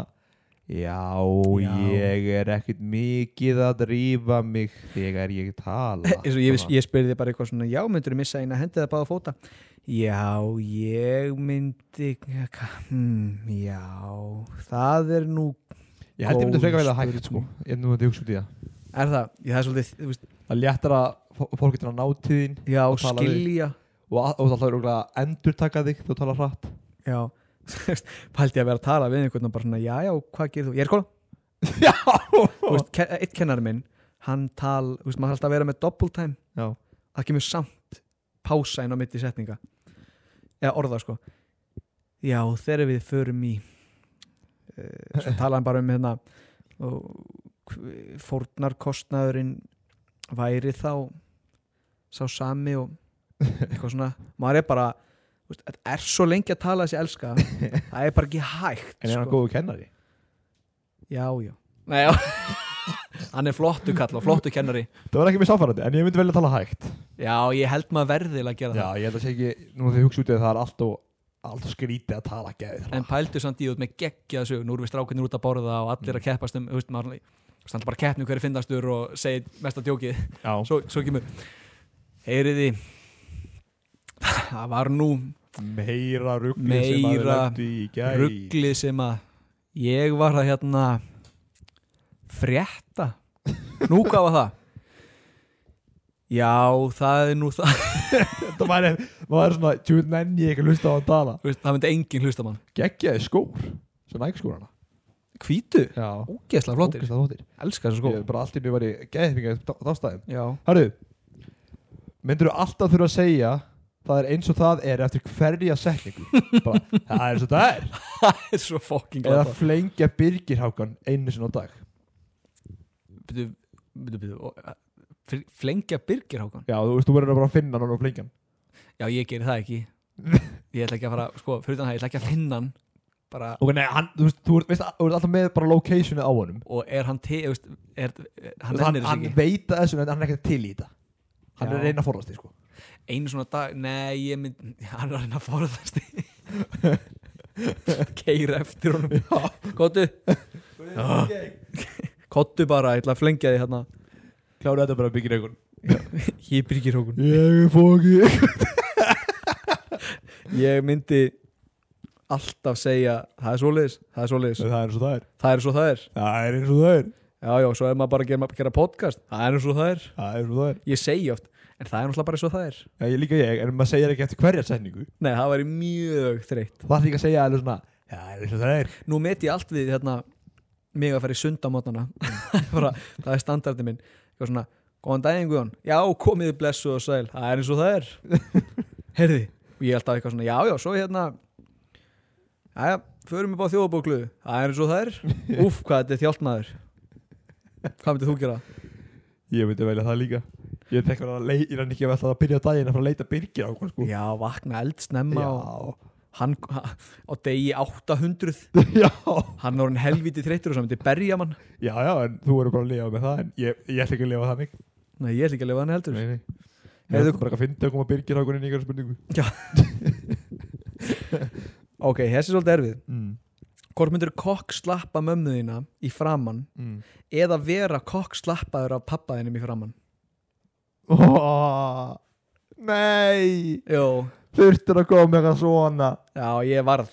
Speaker 2: Já,
Speaker 6: Já.
Speaker 2: ég er ekkit mikið að drífa mig þegar ég tala
Speaker 3: eins og ég, ég spurði þig bara eitthvað svona já, myndur þú missa eina hendið að báða fóta já, ég myndi hmm, já það er nú,
Speaker 2: Ég held ég myndi
Speaker 3: Góð
Speaker 2: frekar velja hægt sko Ég nú myndi hugsa út í það
Speaker 3: er það já, það er svolítið, þú veist,
Speaker 2: Það léttar að fólk getur að ná til þín
Speaker 3: já,
Speaker 2: Og tala við.
Speaker 3: skilja
Speaker 2: og, að- og það er okkur að endur taka þig þú tala hratt
Speaker 3: já, þú veist, pældi ég að vera að tala við einhvern og bara svona, já, já, hvað gerir þú, ég er skóla
Speaker 2: Já
Speaker 3: þú veist, ke- eitt kennar minn hann tal, þú veist, maður þarf alltaf að vera með double time
Speaker 2: Já.
Speaker 3: það kemur samt pása inn á mitt í setninga eða orða sko já, þegar við förum í uh, svo tala hann bara um hérna og fórnarkostnaðurinn væri þá sá sami og eitthvað svona, maður er bara þú veist, þetta er svo lengi að tala þessi elska það er bara ekki hægt
Speaker 2: En er hann
Speaker 3: sko.
Speaker 2: góðu kennari?
Speaker 3: já, já
Speaker 6: Nei, já. hann er flottu kall og flottu kennari
Speaker 2: Það var ekki mér sáfærandi en ég myndi velja að tala hægt
Speaker 6: já, ég held maður verðil að gera
Speaker 2: Já, ég held að sé ekki Nú þegar ég hugsa út í það það er allt og allt og skrítið að tala geðið
Speaker 6: það en pældu samt í út með geggjaða sög nú erum við strákunir út að borða og allir að keppast um þú veist, maður standa bara að keppni um hverju finnastur og segir mesta djókið
Speaker 2: Já,
Speaker 6: svo, svo kemur heyriði það var nú
Speaker 2: meira ruggli sem
Speaker 6: Meira
Speaker 2: að lendi í gæð
Speaker 6: rugglið sem að ég var að hérna frétta nú hvað var það já það er nú það
Speaker 2: Þetta væri, maður er svona, tjú, nenni ég ekki að hlusta á að tala
Speaker 6: Þú veist, það myndi engin hlusta mann
Speaker 2: Geggjaði skór, svo nægskórana
Speaker 6: hvítu,
Speaker 2: Já,
Speaker 6: ógeðslega flottir
Speaker 2: ógeðslega flottir
Speaker 6: elskar þessu
Speaker 2: Ég er bara allt í nýju væri geðfingar þástæðum
Speaker 6: já
Speaker 2: Hörru, myndur þú alltaf þurfa að segja Það er eins og það er eftir hverja setningu bara, Það er eins og það er
Speaker 6: það er svo fokking
Speaker 2: Eða
Speaker 6: glata
Speaker 2: flengja byrgirhákan einu sinni á dag
Speaker 3: byrju, byrju, byrju, og, eh, fl- flengja Birgir Hákon
Speaker 2: Já, þú veist, þú verður bara að finna hann og flengja hann
Speaker 3: já ég gerir það ekki ég ætla ekki að fara, sko, fyrir utan það, ég ætla ekki að finna hann bara,
Speaker 2: Ok, nei, hann, þú veist, þú ert- veist, þú ert alltaf með bara locationið á honum
Speaker 3: og er hann te, þú veist, er, hann
Speaker 2: Þú veist,
Speaker 3: ennir
Speaker 2: hann
Speaker 3: þess ekki
Speaker 2: veit að þessu, en hann er ekkert til í þetta Hann
Speaker 3: Já.
Speaker 2: er að reyna að forðast því, sko
Speaker 3: einu svona dag, nei, ég mynd hann er að reyna að forðast keira eftir honum kottu kottu bara, ég ætla að flengja því hérna
Speaker 2: Kláru þetta bara að byggja reikun
Speaker 3: hér Birgir Hákon
Speaker 2: Ég er fókið
Speaker 3: ég myndi alltaf segja það er svoleiðis, það er svoleiðis
Speaker 2: Það er eins og það er
Speaker 3: það er svo það er,
Speaker 2: Það er eins og það er
Speaker 3: já já, svo er maður bara að gera, gera podcast, það er svo það er
Speaker 2: Það er eins og það er
Speaker 3: ég segi oft, en það er náttúrulega bara svo það er
Speaker 2: Já, ég líka ég, en maður segir ekki eftir hverja setningu
Speaker 3: nei, það væri mjög þreytt
Speaker 2: Það er líka að segja alveg svona Það er eins og það er
Speaker 3: nú met ég allt við hérna mig að fara í sundamotnana bara, það er standardi minn Ég var svona, góðan daginn Guðan, já komið þið blessuð og sæl, það er eins og það er heyrði, og ég held að eitthvað svona já já, svo hérna já já, förum við bara þjóðabóklu það er eins og það er, úff hvað þetta er þjált maður hvað myndið þú gera?
Speaker 2: Ég myndi velja það líka Ég tek hann að leita, ég rann ekki að velta að byrja daginn að fara að leita byrgir á hann sko
Speaker 3: já, vakna eldsnemma
Speaker 2: Já,
Speaker 3: og hann á degi 800
Speaker 2: já,
Speaker 3: hann var hann helvítið þreyttur og svo myndi berja mann
Speaker 2: já, já, en þú eru bara að lifa með það En ég, ég ætla ekki að lifa þannig
Speaker 3: nei, ég ætla ekki að lifa hann heldur
Speaker 2: nei Ég
Speaker 3: Heyrðu-
Speaker 2: ætla bara að finna að koma byrgir á hann í einhverja spurningu
Speaker 3: ok, þessi er svolítið erfið
Speaker 2: mm.
Speaker 3: hvort myndur kokk slappa mömmu þína í framann
Speaker 2: Mm.
Speaker 3: eða vera kokk slappaður af pappa þínum í framann
Speaker 2: Oh, nei
Speaker 3: Jó,
Speaker 2: Þurftur að koma með eitthvað svona
Speaker 3: já ég varð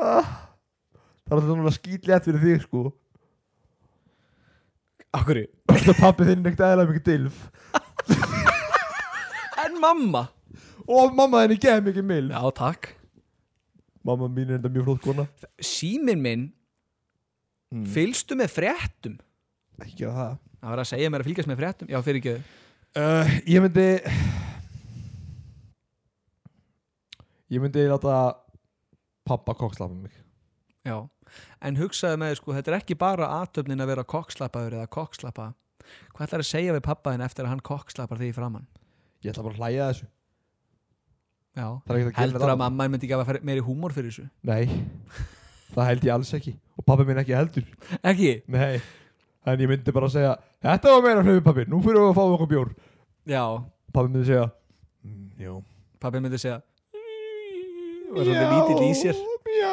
Speaker 2: ah, Það er alltaf núna skýtlétt fyrir þig sko
Speaker 3: Akkur
Speaker 2: Það pappi þinn er ekkert eðla mikið dilf
Speaker 3: En mamma
Speaker 2: Og mamma þinn er geð mikið milf
Speaker 3: Já takk
Speaker 2: Mamma mín er enda mjög flott kona
Speaker 3: Símin minn,
Speaker 2: Mm.
Speaker 3: fylgstu með fréttum
Speaker 2: Ekki gera það
Speaker 3: Það var að segja mér að fylgjast með fréttum Já fyrir ekki
Speaker 2: uh, Ég myndi Ég myndi láta Pappa kokslapa mig
Speaker 3: Já En hugsaðu með sko, þetta er ekki bara aðtöfnin að vera kokkslappaður eða kokkslappa Hvað ætlar að segja við pappa þinn eftir að hann kokkslappar því í framann?
Speaker 2: Ég ætla bara að hlæja að þessu
Speaker 3: Já
Speaker 2: Það er ekkert að gera
Speaker 3: Heldur
Speaker 2: neitt
Speaker 3: að
Speaker 2: annað.
Speaker 3: mamma þín myndi gefa fer- meiri húmor fyrir þessu?
Speaker 2: Nei Það held ég alls ekki Og pappi mín ekki heldur
Speaker 3: Ekki?
Speaker 2: Nei En ég myndi bara að segja Þetta var meira hlöfu pappi Nú fyrir við að fá okkur bjór
Speaker 3: Já
Speaker 2: Pappi myndi segja mm, Jú
Speaker 3: Pappi myndi segja Og svona lítill í sér
Speaker 2: Já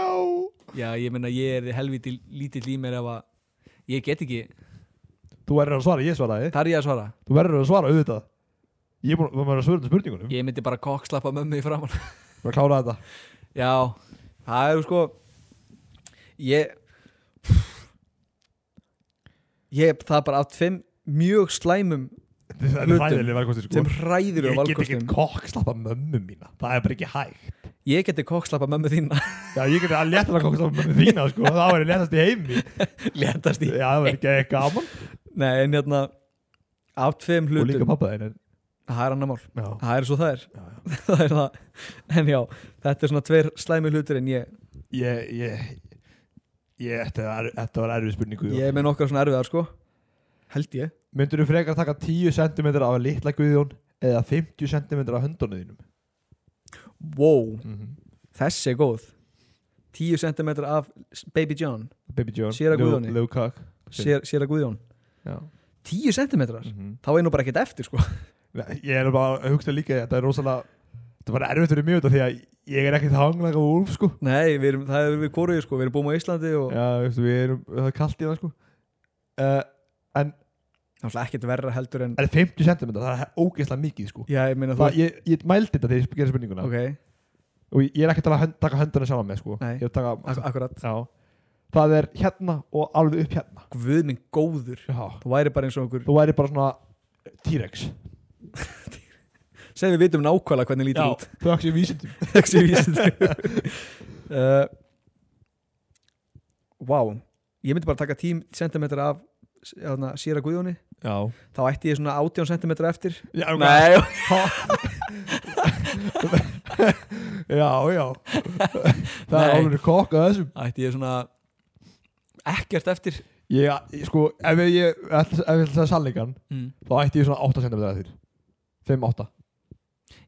Speaker 2: sko.
Speaker 3: Já, ég meina ég er helviti lítill í mér ef að Ég get ekki,
Speaker 2: Þú verður að svara, ég svaraði
Speaker 3: þar ég að svara
Speaker 2: Þú verður að svara auðvitað Ég er búin að vera að svara um spurningunum
Speaker 3: Ég myndi bara kokkslappa mömmu í framann
Speaker 2: Bara að klára þetta
Speaker 3: Já, það er sko Ég Ég, það er bara af tveim mjög slæmum
Speaker 2: Þetta er
Speaker 3: Hlutum.
Speaker 2: hræðileg verðkostir sko
Speaker 3: Tveim hræðir um
Speaker 2: Ég get ekki
Speaker 3: valkostum
Speaker 2: kokkslappa mömmu mína Það er bara ekki hægt
Speaker 3: Ég geti kokkslappa mömmu þína
Speaker 2: Já, ég geti að létta að kokkslappa mömmu þína sko Það væri léttast í heimi
Speaker 3: Léttast í
Speaker 2: Já, það væri ekki ekki gaman
Speaker 3: Nei, en hérna Af tveim
Speaker 2: Og líka
Speaker 3: hlutum
Speaker 2: pappa þeir
Speaker 3: Það er annar mál
Speaker 2: Já,
Speaker 3: Það er svo það er
Speaker 2: já, já
Speaker 3: það er það en já, þetta er svona tveir slæmi hlutir en ég,
Speaker 2: Ég, ég, ég Þetta var, þetta var erfið spurningu
Speaker 3: ég er með nokkra svona erfiðar sko held ég
Speaker 2: Myndur þú frekar taka 10 cm af litla guðjón eða 50 cm af höndunum þínum?
Speaker 3: wow,
Speaker 2: Mm -hmm.
Speaker 3: þessi er góð 10 cm af Baby John
Speaker 2: Baby John,
Speaker 3: Séra
Speaker 2: Lil-
Speaker 3: Guðjóni.
Speaker 2: Lil Cock
Speaker 3: sér, sér að Guðjón, 10 cm
Speaker 2: Mhm.
Speaker 3: þá er nú bara ekkert eftir sko
Speaker 2: Nei, Ég er bara að hugsa líka þetta er rosalega þetta var erfitt fyrir mjög þetta því að ég er ekkert hanglega úr úlf sko
Speaker 3: nei, við erum, það er við koruði sko, við erum búin á Íslandi og
Speaker 2: Já, veistu, við erum, það er kalt í það sko uh,
Speaker 3: náttúrulega ekkert verra heldur en
Speaker 2: En 50 cm, það er ógeðslega mikið sko
Speaker 3: já, ég meina þú
Speaker 2: það, ég, ég mældi þetta þegar ég gerði spurninguna
Speaker 3: ok,
Speaker 2: og ég er ekkert að hönd, taka hönduna saman með sko
Speaker 3: Nei.
Speaker 2: Ég er
Speaker 3: ak
Speaker 2: að taka,
Speaker 3: akkurat
Speaker 2: já, það er hérna og alveg upp hérna
Speaker 3: Guð minn góður,
Speaker 2: já.
Speaker 3: þú væri bara eins og okkur
Speaker 2: þú væri bara svona T-Rex
Speaker 3: sem við vitum nákvæmlega hvernig lítur út
Speaker 2: þau ekki vísindum
Speaker 3: þessi vísindum uh, Wow Ég myndi bara taka 10 cm af hana, Sýra Guðjóni
Speaker 2: já,
Speaker 3: þá ætti ég svona 18 cm eftir
Speaker 2: já, ok.
Speaker 3: Nei,
Speaker 2: já, já það er
Speaker 3: Nei.
Speaker 2: alveg kokk að þessum
Speaker 3: ætti ég svona ekkert eftir
Speaker 2: ég, ég- sko, ef ég, ég ætla ef ég ætla að segja sannleikan
Speaker 3: Mm.
Speaker 2: þá ætti ég svona 8 cm að þér 5-8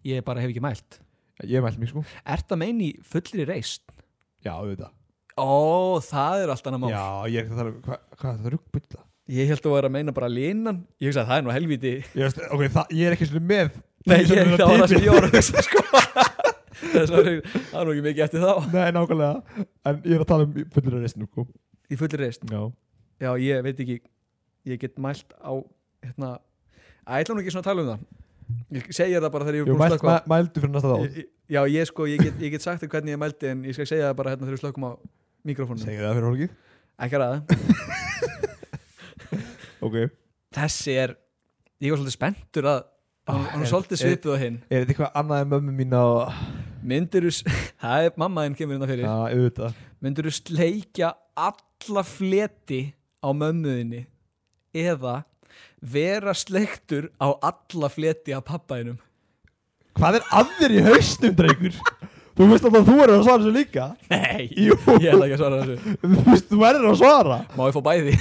Speaker 3: Ég bara hef ekki mælt
Speaker 2: ég mælt mig sko
Speaker 3: Er það meina í fullri reist?
Speaker 2: já, auðvitað
Speaker 3: Ó, það er allt annað mál
Speaker 2: já, ég er ekki að tala um hva- hvað er það ruggbylla
Speaker 3: Ég held að vera að meina bara línan Ég hugsa að það er nú helviti
Speaker 2: ég, veist, ok, það, ég er ekki svona með
Speaker 3: Nei,
Speaker 2: Ég er
Speaker 3: ég,
Speaker 2: svona
Speaker 3: það var það
Speaker 2: tipið.
Speaker 3: sem ég var að hugsa sko Þess að það var nú ekki mikið eftir þá
Speaker 2: nei, nákvæmlega en ég er að tala um fullur reistin sko
Speaker 3: Í fullri reist
Speaker 2: já
Speaker 3: Já, ég veit ekki Ég get mælt á hérna Æ, ætla nú ekki svona að tala um það Ég segja það bara þegar ég er
Speaker 2: Jú,
Speaker 3: búinn að
Speaker 2: mælt,
Speaker 3: slökkva.
Speaker 2: mæ, mældu fyrir næsta
Speaker 3: Ég-
Speaker 2: þátt
Speaker 3: ég- Já, ég sko, ég get, ég get sagt þér hvernig ég mældi En ég skal segja það bara hérna þegar við slökum á mikrofónum
Speaker 2: segja það fyrir hólkið
Speaker 3: Ekki ræða
Speaker 2: ok
Speaker 3: Þessi er Ég var svolítið spenntur að Hann hann
Speaker 2: er-
Speaker 3: er svolítið
Speaker 2: er-
Speaker 3: svipuð á hinn
Speaker 2: er þetta eitthvað annað en mömmu mín og
Speaker 3: Myndir þú Það er mamma þinn kemur hérna
Speaker 2: já,
Speaker 3: fyrir
Speaker 2: auðvitað
Speaker 3: Myndir þú sleikja alla fleti á mömmuðinni Eða vera sleiktur á alla fleti á pappaðinum
Speaker 2: hvað er að þér í haustum, drengur þú veist alltaf að þú er að svara þessu líka
Speaker 3: Nei,
Speaker 2: Jú.
Speaker 3: ég ætla ekki að svara þessu
Speaker 2: þú veist, þú verður að svara
Speaker 3: Má ég fá bæði?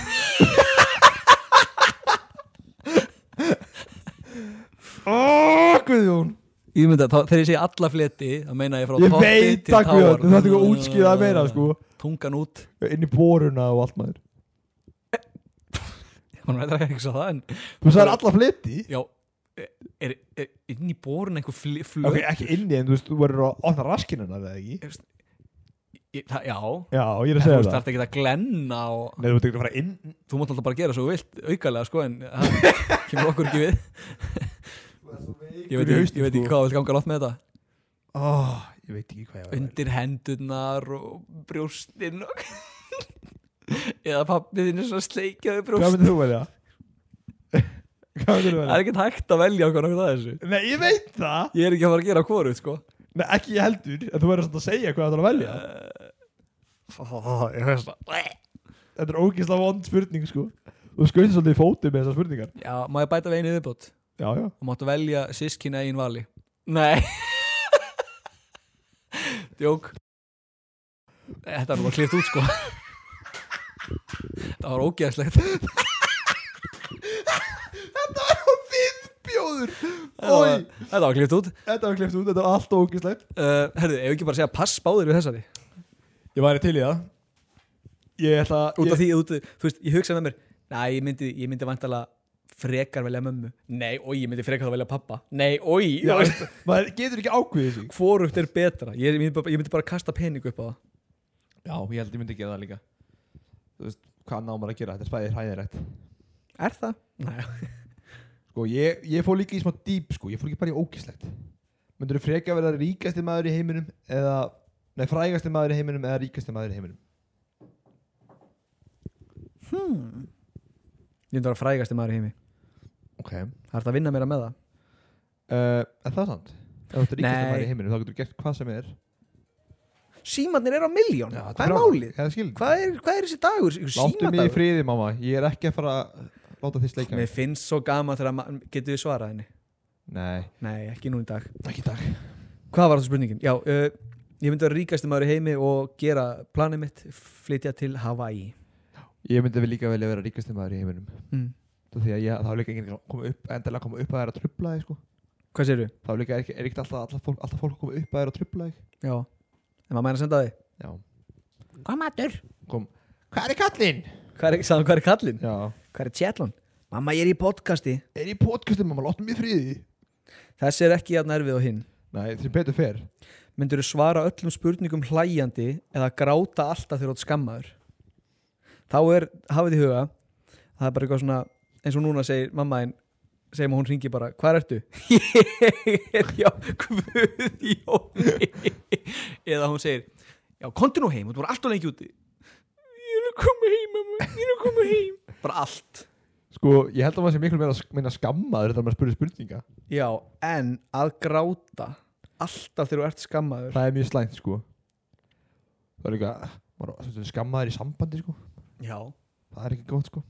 Speaker 2: Oh, Guðjón
Speaker 3: Ég myndi að þá- þegar ég segi alla fleti þá meina ég frá
Speaker 2: Ég
Speaker 3: toppi
Speaker 2: veit
Speaker 3: til
Speaker 2: það,
Speaker 3: táar.
Speaker 2: Guðjón, þú þarft ekki að útskýra það meira, sko.
Speaker 3: Tungan út,
Speaker 2: inn í boruna og allt maður
Speaker 3: hann veit ekki svo það en
Speaker 2: þú sagðir alla fleti
Speaker 3: Já, er, er inn í borun einhver fl flöt?
Speaker 2: ok, ekki inni en þú veist, þú verður að opna raskinnina eða ekki
Speaker 3: Ég- það- Já,
Speaker 2: já, ég
Speaker 3: en
Speaker 2: er að
Speaker 3: þú
Speaker 2: segja
Speaker 3: veist
Speaker 2: það
Speaker 3: þarf ekki að glenna og
Speaker 2: Nei, þú tekur að fara inn
Speaker 3: þú mátt alltaf bara gera svo þú vilt aukalega sko en það kemur okkur ekki við Ég veit,
Speaker 2: í
Speaker 3: ekki-
Speaker 2: hausnum,
Speaker 3: ég veit ekki
Speaker 2: sko.
Speaker 3: hvað þú vilt ganga látt með þetta
Speaker 2: oh, Ég veit ekki hvað ég var
Speaker 3: Undir hendurnar og brjóstinn og eða pappið þinn er svo sleikjaði
Speaker 2: Hvað
Speaker 3: brjóstinn
Speaker 2: myndir þú velja? Hvað myndir þú
Speaker 3: Það er
Speaker 2: velja?
Speaker 3: ekkert hægt að velja okkur okkur það þessu
Speaker 2: Nei, ég veit það
Speaker 3: Ég er ekki að fara að gera hvoru, sko
Speaker 2: Nei, ekki ég heldur En þú verður samt að segja hvað þú ætlar að velja
Speaker 3: Ég veist það
Speaker 2: Þetta er ógeðslega vond spurning, sko Þú skauðir svolítið í fótið með þessar spurningar
Speaker 3: Já, má ég bæta við einu viðbót og
Speaker 2: Já, já
Speaker 3: máttu velja sískin eigin vali Nei Djók Þetta er bara klift út, sko Það var ógeðslegt
Speaker 2: Þetta var á viðbjóður
Speaker 3: Þetta var-
Speaker 2: Ói,
Speaker 3: Þetta var klift út uh,
Speaker 2: þetta var klift út, þetta var allt ógeðslegt
Speaker 3: Herðu, ef ekki bara að segja pass báðir við þessari
Speaker 2: Ég væri til í það Ég ætla
Speaker 3: Út af því, út, þú veist, ég hugsa með mér Næ, ég myndi, ég myndi vantalega frekar velja mömmu Nei, oi, ég myndi frekar velja pappa Nei, oi
Speaker 2: Já, veist, maður getur ekki ákveðið sig
Speaker 3: hvorugt er betra ég, ég, myndi bara, ég myndi bara kasta pening upp á það
Speaker 2: Já, ég held ég myndi gera það líka Þú veist, hvað námar að gera, þetta er spæðið hræðirætt
Speaker 3: er það? Nei.
Speaker 2: Sko, ég, ég fór líka í smá dýp, sko Ég fór ekki bara í ógíslegt Myndur þú freka að vera ríkasti maður í heiminum Eða, nei, frægasti maður í heiminum Eða ríkasti maður í heiminum
Speaker 3: Hmm. ég myndi vera frægasti maður í heimi
Speaker 2: Ok uh,
Speaker 3: það er þetta að vinna meira með það
Speaker 2: En það Eh, er sant Ef þú ert ríkasti
Speaker 3: Nei.
Speaker 2: maður í heiminum, þá getur þú gert hvað sem er
Speaker 3: símatnir eru á miljón,
Speaker 2: Já,
Speaker 3: hvað er málið?
Speaker 2: Hvað er skil?
Speaker 3: Hvað er, hvað er þessi dagur? Ykkur
Speaker 2: Láttu mig í
Speaker 3: Símadagur?
Speaker 2: friði, mamma Ég er ekki að fara að láta því sleika
Speaker 3: Mér
Speaker 2: mig
Speaker 3: finnst svo gaman þegar maður getur við svarað henni
Speaker 2: Nei,
Speaker 3: Nei, ekki nú í dag
Speaker 2: ekki í dag
Speaker 3: Hvað var það spurningin? Já, uh, ég myndi vera ríkasti maður í heimi og gera planið mitt flytja til Hawaii
Speaker 2: Ég myndi vel líka velja að vera ríkasti maður í heiminum
Speaker 3: Mm.
Speaker 2: Þú því að ég, það er líka enginn að koma upp endilega að koma upp að þær að trubla þig sko
Speaker 3: Hvað séru?
Speaker 2: Það er líka er ekki, er ekki alltaf, alltaf, fólk, alltaf fólk að koma upp að þær að trubla þig
Speaker 3: Já, en maður mæna að senda þig
Speaker 2: Já
Speaker 3: Hvað matur?
Speaker 2: Kom Hvað er kallinn?
Speaker 3: Hvað er, sagði hann, hvað er kallinn?
Speaker 2: Já
Speaker 3: Hvað er tjallan? Mamma, ég er í podcasti
Speaker 2: Er í podcastum mamma, láttu mig í friði
Speaker 3: Þessi er ekki að nervið á hinn
Speaker 2: Nei, þeir betur fer
Speaker 3: myndur svara öllum spurningum hlæjandi eða gráta alltaf þegar þú ert skammaður þá er, hafið í huga það er bara eitthvað svona eins og núna segir mamma en segjum að hún ringi bara, hvað ertu? ég er já, Guðjóni eða hún segir já, konti nú heim, þú er alltaf lengi úti ég er að koma heim mamma, ég er að koma heim bara allt
Speaker 2: Sko, ég held að maður sé miklu meira sk- meina skammaður Þetta maður spurði spurninga
Speaker 3: já, en að gráta alltaf þegar þú ert skammaður
Speaker 2: Það er mjög slæmt sko Það er líka maður, á- stundum Skammaður í sambandi sko
Speaker 3: já,
Speaker 2: Það er ekki gott sko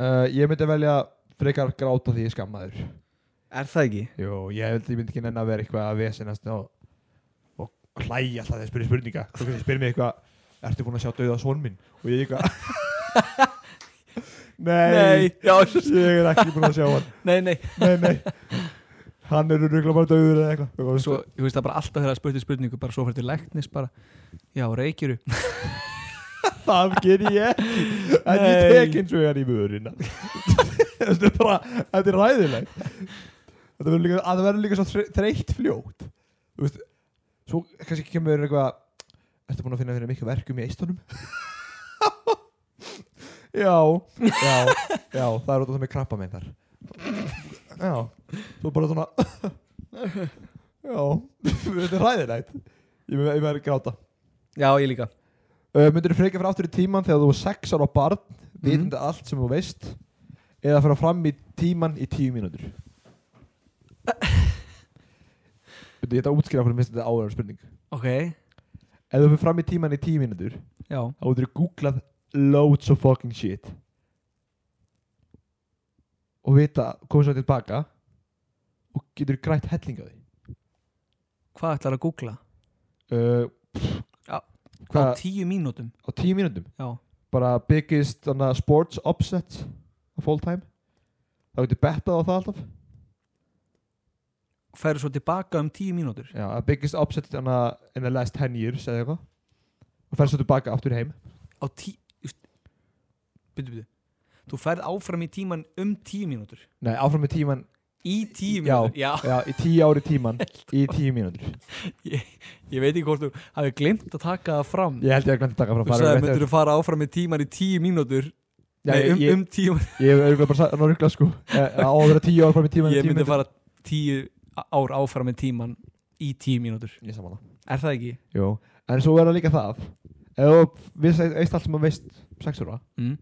Speaker 2: uh, Ég myndi velja frekar gráta því ég er skammaður
Speaker 3: er það ekki?
Speaker 2: Jú, ég held ég myndi ekki nenni að vera eitthvað að vesinast og, og hlæja alltaf þegar ég spyrir spurninga Þú kannski spyrir mig eitthvað ertu búin að sjá dauða svon minn og ég eitthvað nei,
Speaker 3: Nei, já,
Speaker 2: ég er ekki búin að sjá hann
Speaker 3: nei, nei
Speaker 2: nei, nei hann er rúglega bara dauður eða eitthvað eitthvað,
Speaker 3: Svo, ég veist það bara alltaf þegar að spurti spurningu bara svo fyrir læknis bara Já, reykjuru
Speaker 2: það ger ég ekki en ég
Speaker 3: Nei.
Speaker 2: tek eins og ég er í vörina þetta er bara þetta er ræðilegt þetta verður líka, að það verður líka svo þre- þreytt fljótt þú veist svo kannski kemur eitthvað ertu búin að finna fyrir mikið verkum í eistunum já já, já, það er út af það með krabba með þar já þú bara svona já, þetta er ræðilegt ég verður- ég verður að gráta
Speaker 3: Já, ég líka
Speaker 2: Uh, myndur þú freka fyrir aftur í tíman þegar þú er 6 ára barn vitandi allt sem þú veist eða fara fram í tíman í 10 mínútur Byrju, Ég ætla að útskýra hvernig minnst þetta áður spurning
Speaker 3: Ok,
Speaker 2: Ef þú fyrir fram í tíman í 10 mínútur
Speaker 3: já
Speaker 2: þá þú eru googlað loads of fucking shit og vita komið svo tilbaka og getur grætt helling á því
Speaker 3: Hvað ætlar að googla?
Speaker 2: uh,
Speaker 3: Já, Á
Speaker 2: hvað,
Speaker 3: tíu mínútum
Speaker 2: á 10 mínútum
Speaker 3: Já,
Speaker 2: bara biggest hana, sports upsets of all time það getur bettað á það alltaf
Speaker 3: færu svo tilbaka um tíu mínútur
Speaker 2: já, að biggest upset hana, in the last 10 years eða eitthvað og fer svo tilbaka aftur heim
Speaker 3: Á tíu Byttu, byttu Þú færð áfram í tíman um tíu mínútur
Speaker 2: nei, áfram með tíman,
Speaker 3: Í tíu
Speaker 2: Já.
Speaker 3: mínútur Já,
Speaker 2: já, í 10 ári tíman í 10 mínútur
Speaker 3: Mm. ég veit ekki hvort þú hafi glemt að taka það fram
Speaker 2: ég held ég að glemta taka frá
Speaker 3: Þú sagði, myndur þú fara áfram í tíman í tíu mínútur
Speaker 2: já,
Speaker 3: Nei, um,
Speaker 2: ég,
Speaker 3: um tíu
Speaker 2: ég hef örgulega bara sagt nörgulega sko Eh, á að vera 10 ári fram í tíman
Speaker 3: Ég myndi fara tíu ár áfram með tíman í tíu mínútur
Speaker 2: ég saman
Speaker 3: Er það ekki?
Speaker 2: það jú en svo verða líka það ef þú veist veist allt sem þú veist 6 ára
Speaker 3: Mm.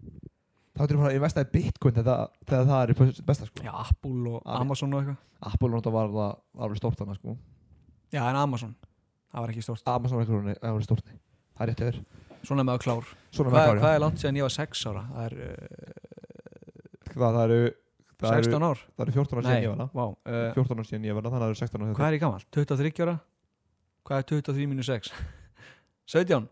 Speaker 2: þá getur þú fara að investa í bitcoin þegar, það- þegar það er í pos- besta sko
Speaker 3: Já, Apple og
Speaker 2: Ari.
Speaker 3: Amazon og eitthvað
Speaker 2: Apple náttúrulega var það alveg stórt þannig sko
Speaker 3: Já, en Amazon, það var ekki stórt
Speaker 2: Amazon er eitthvað alveg stórt nei. það er rétt yfir
Speaker 3: Svona með að klár
Speaker 2: svona hérna.
Speaker 3: Hvað
Speaker 2: með
Speaker 3: hvað er langt síðan ég var 6 ára? Það er
Speaker 2: hvað það eru
Speaker 3: uh,
Speaker 2: það eru,
Speaker 3: 16 ár
Speaker 2: það eru 14 ára
Speaker 3: Nei,
Speaker 2: síðan ég var það
Speaker 3: vá uh,
Speaker 2: 14 ára síðan ég var það þannig að það eru 16 ára
Speaker 3: Hvað er ég gammal? 23 ára? Hvað er 23 mínus 6? 17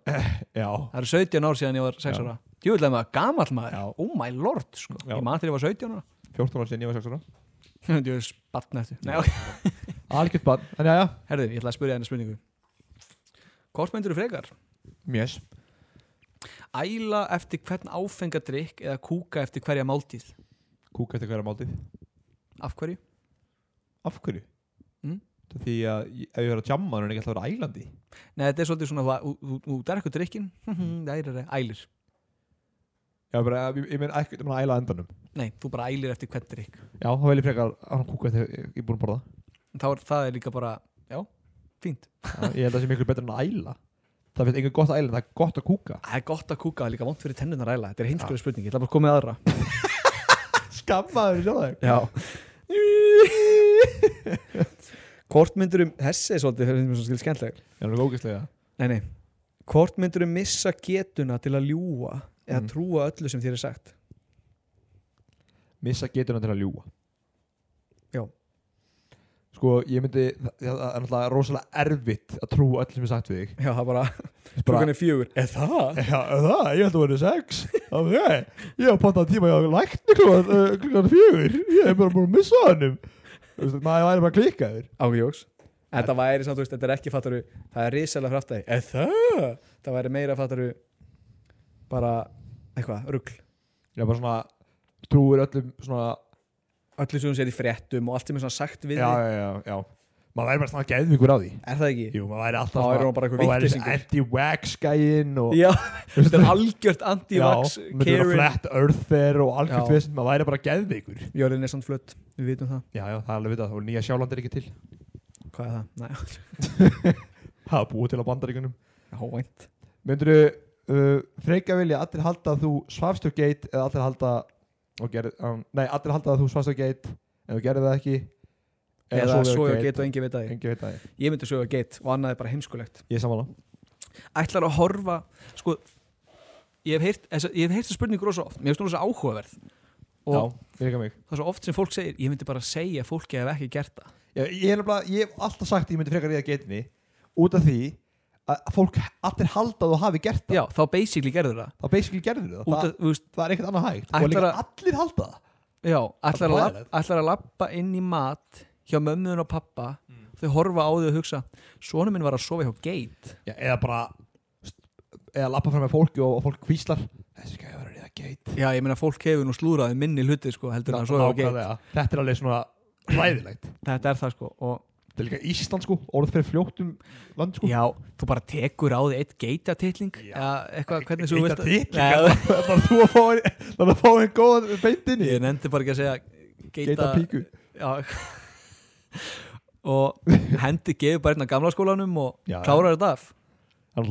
Speaker 2: já
Speaker 3: Það eru 17 ár síðan ég var 6
Speaker 2: Já.
Speaker 3: ára Djúvilega með að gammal maður
Speaker 2: Já.
Speaker 3: Oh my lord, sko
Speaker 2: Já.
Speaker 3: Ég man þegar ég var 17 ára
Speaker 2: 14 ára síðan ég var 16 ára
Speaker 3: Djúvilega spann eftir Nei, ok
Speaker 2: algjört barn en já já
Speaker 3: Herðu, ég ætla að spyrja henni spurningu Hvort myndir þú frekar?
Speaker 2: mjöss
Speaker 3: Æla eftir hvern áfengadrykk eða kúka eftir hverja máltíð
Speaker 2: kúka eftir hverja máltið
Speaker 3: Af hverju?
Speaker 2: af hverju
Speaker 3: Mm.
Speaker 2: Það er því að ég- ef ég verið að jamma er ekki alltaf að vera ælandi
Speaker 3: Nei, þetta er svolítið svona þú- þú- þú- Þú drekkur drykkin Mhm. Ælir
Speaker 2: já bara ég, ég meina ekkert um að æla á endanum
Speaker 3: Nei, þú bara ælir eftir hvern drykk
Speaker 2: já þá vel ég frekar að hann kúka eftir ég er búin að borða
Speaker 3: Þá er það er líka bara Já, fínt
Speaker 2: Já, ég held að það sé miklu betur en að æla það finnst engin gott að æla en það er gott að kúka
Speaker 3: Það er gott að kúka, það er líka vont fyrir tennunar æla Þetta er heimskulega spurning, ég ætla bara að koma með aðra
Speaker 2: skammaður sjálf þig
Speaker 3: Já Hvort myndur um Þessi er svolítið, það er mér svo skil skemmtleg
Speaker 2: ég er alveg ógæslega
Speaker 3: Nei, nei Hvort myndur um missa getuna til að ljúga eða
Speaker 2: Mm.
Speaker 3: trúa öllu sem þér er sagt
Speaker 2: missa getuna til að ljúa
Speaker 3: Já.
Speaker 2: sko ég myndi það það er náttúrulega rosalega erfitt að trúa öll sem ég sagt við þig
Speaker 3: Já, það bara,
Speaker 2: bara,
Speaker 3: er fjögur Er það?
Speaker 2: já, er það, ég held að vera sex ok, ég hef pantað tíma ég hef lækni klukkan, uh, klukkan fjögur ég hef bara búin að missa hannum maður væri bara klikkaður
Speaker 3: Ágjóks Þetta væri samt, þú veist, þetta er ekki fattaru Það er risalega fráftæði Er það? Það væri meira fattaru bara, eitthvað, rugl
Speaker 2: ég hef bara svona trúir öllum svona
Speaker 3: Öllu sem hún sér í fréttum og allt sem er svona sagt við
Speaker 2: já,
Speaker 3: þig
Speaker 2: já, já, já maður væri bara svona geðvíkur á því
Speaker 3: Er það ekki?
Speaker 2: jú, maður væri alltaf
Speaker 3: Þá væri
Speaker 2: svona-
Speaker 3: hann bara einhver
Speaker 2: maður væri
Speaker 3: vitleysingur.
Speaker 2: anti-wax gæinn og
Speaker 3: Já, þetta er
Speaker 2: Já,
Speaker 3: algjört anti-vax
Speaker 2: myndi vera
Speaker 3: Karen
Speaker 2: flat earther og algjört
Speaker 3: Já.
Speaker 2: vesinn maður væri bara geðvíkur
Speaker 3: Jörðin er samt flött, við vitum það
Speaker 2: Já, já, það er alveg vitað, þá er nýja sjáland er ekki til
Speaker 3: Hvað er það? Næ,
Speaker 2: Það er búið til á bandaríkunum
Speaker 3: hávænt
Speaker 2: Myndur þú uh, freyka vilja allir halda að þú svafst og geit eða allir halda og gerð, um, Nei, allir halda að þú svafst og geit en þú gerði það ekki
Speaker 3: Eða svo ég get og engi veit að ég
Speaker 2: Engi veit að ég
Speaker 3: Ég myndi svo ég get og annað er bara heimskulegt
Speaker 2: Ég er samanlá
Speaker 3: Ætlar að horfa, sko Ég hef heyrt þessa- ég hef heyrt þessa spurningu rosa oft Mér finnst hún rosa áhugaverð Og
Speaker 2: Já, ég er ekki mig
Speaker 3: það er svo oft sem fólk segir ég myndi bara segja að fólki hef ekki gert það
Speaker 2: Ég, ég, er nefnilega, ég hef alltaf sagt að ég myndi frekar reyða geitinni út af því að fólk allir halda að þú hafi gert það
Speaker 3: já, þá basically gerður það
Speaker 2: þá basically gerður það,
Speaker 3: Út
Speaker 2: það,
Speaker 3: að, þú veist,
Speaker 2: það er ekkert annað hægt og
Speaker 3: Ætlar
Speaker 2: líka
Speaker 3: að-
Speaker 2: allir halda það
Speaker 3: já, ætlar að,
Speaker 2: Það er
Speaker 3: lapp, ætlar að lappa inn í mat hjá mömmun og pappa þau horfa á þau og hugsa sonu minn var að sofa hjá geit
Speaker 2: já, eða bara eða lappa fram með fólki og, og fólk hvíslar þessi gæði verður í það geit
Speaker 3: já, ég meina fólk hefur nú slúraði minni hluti sko, heldur en að sofa hjá geit
Speaker 2: Nákvæmlega. þetta er alveg svona ræðilegt
Speaker 3: þetta er það sko og
Speaker 2: þetta er líka Ísland sko, orðið fyrir fljóttum land sko
Speaker 3: Já, þú bara tekur á þig eitt geitatitling
Speaker 2: Já.
Speaker 3: eða eitthvað, hvernig sem þú
Speaker 2: Eitt
Speaker 3: vilt
Speaker 2: að
Speaker 3: að-
Speaker 2: titlinga
Speaker 3: Nei,
Speaker 2: Þannig að þú að fá Þannig að fá einn góðan beintinni
Speaker 3: Ég nefndi bara ekki að segja geita,
Speaker 2: Geita píku
Speaker 3: Já Og hendi gefur bara hérna gamla skólanum og
Speaker 2: Já, já.
Speaker 3: klárar þetta af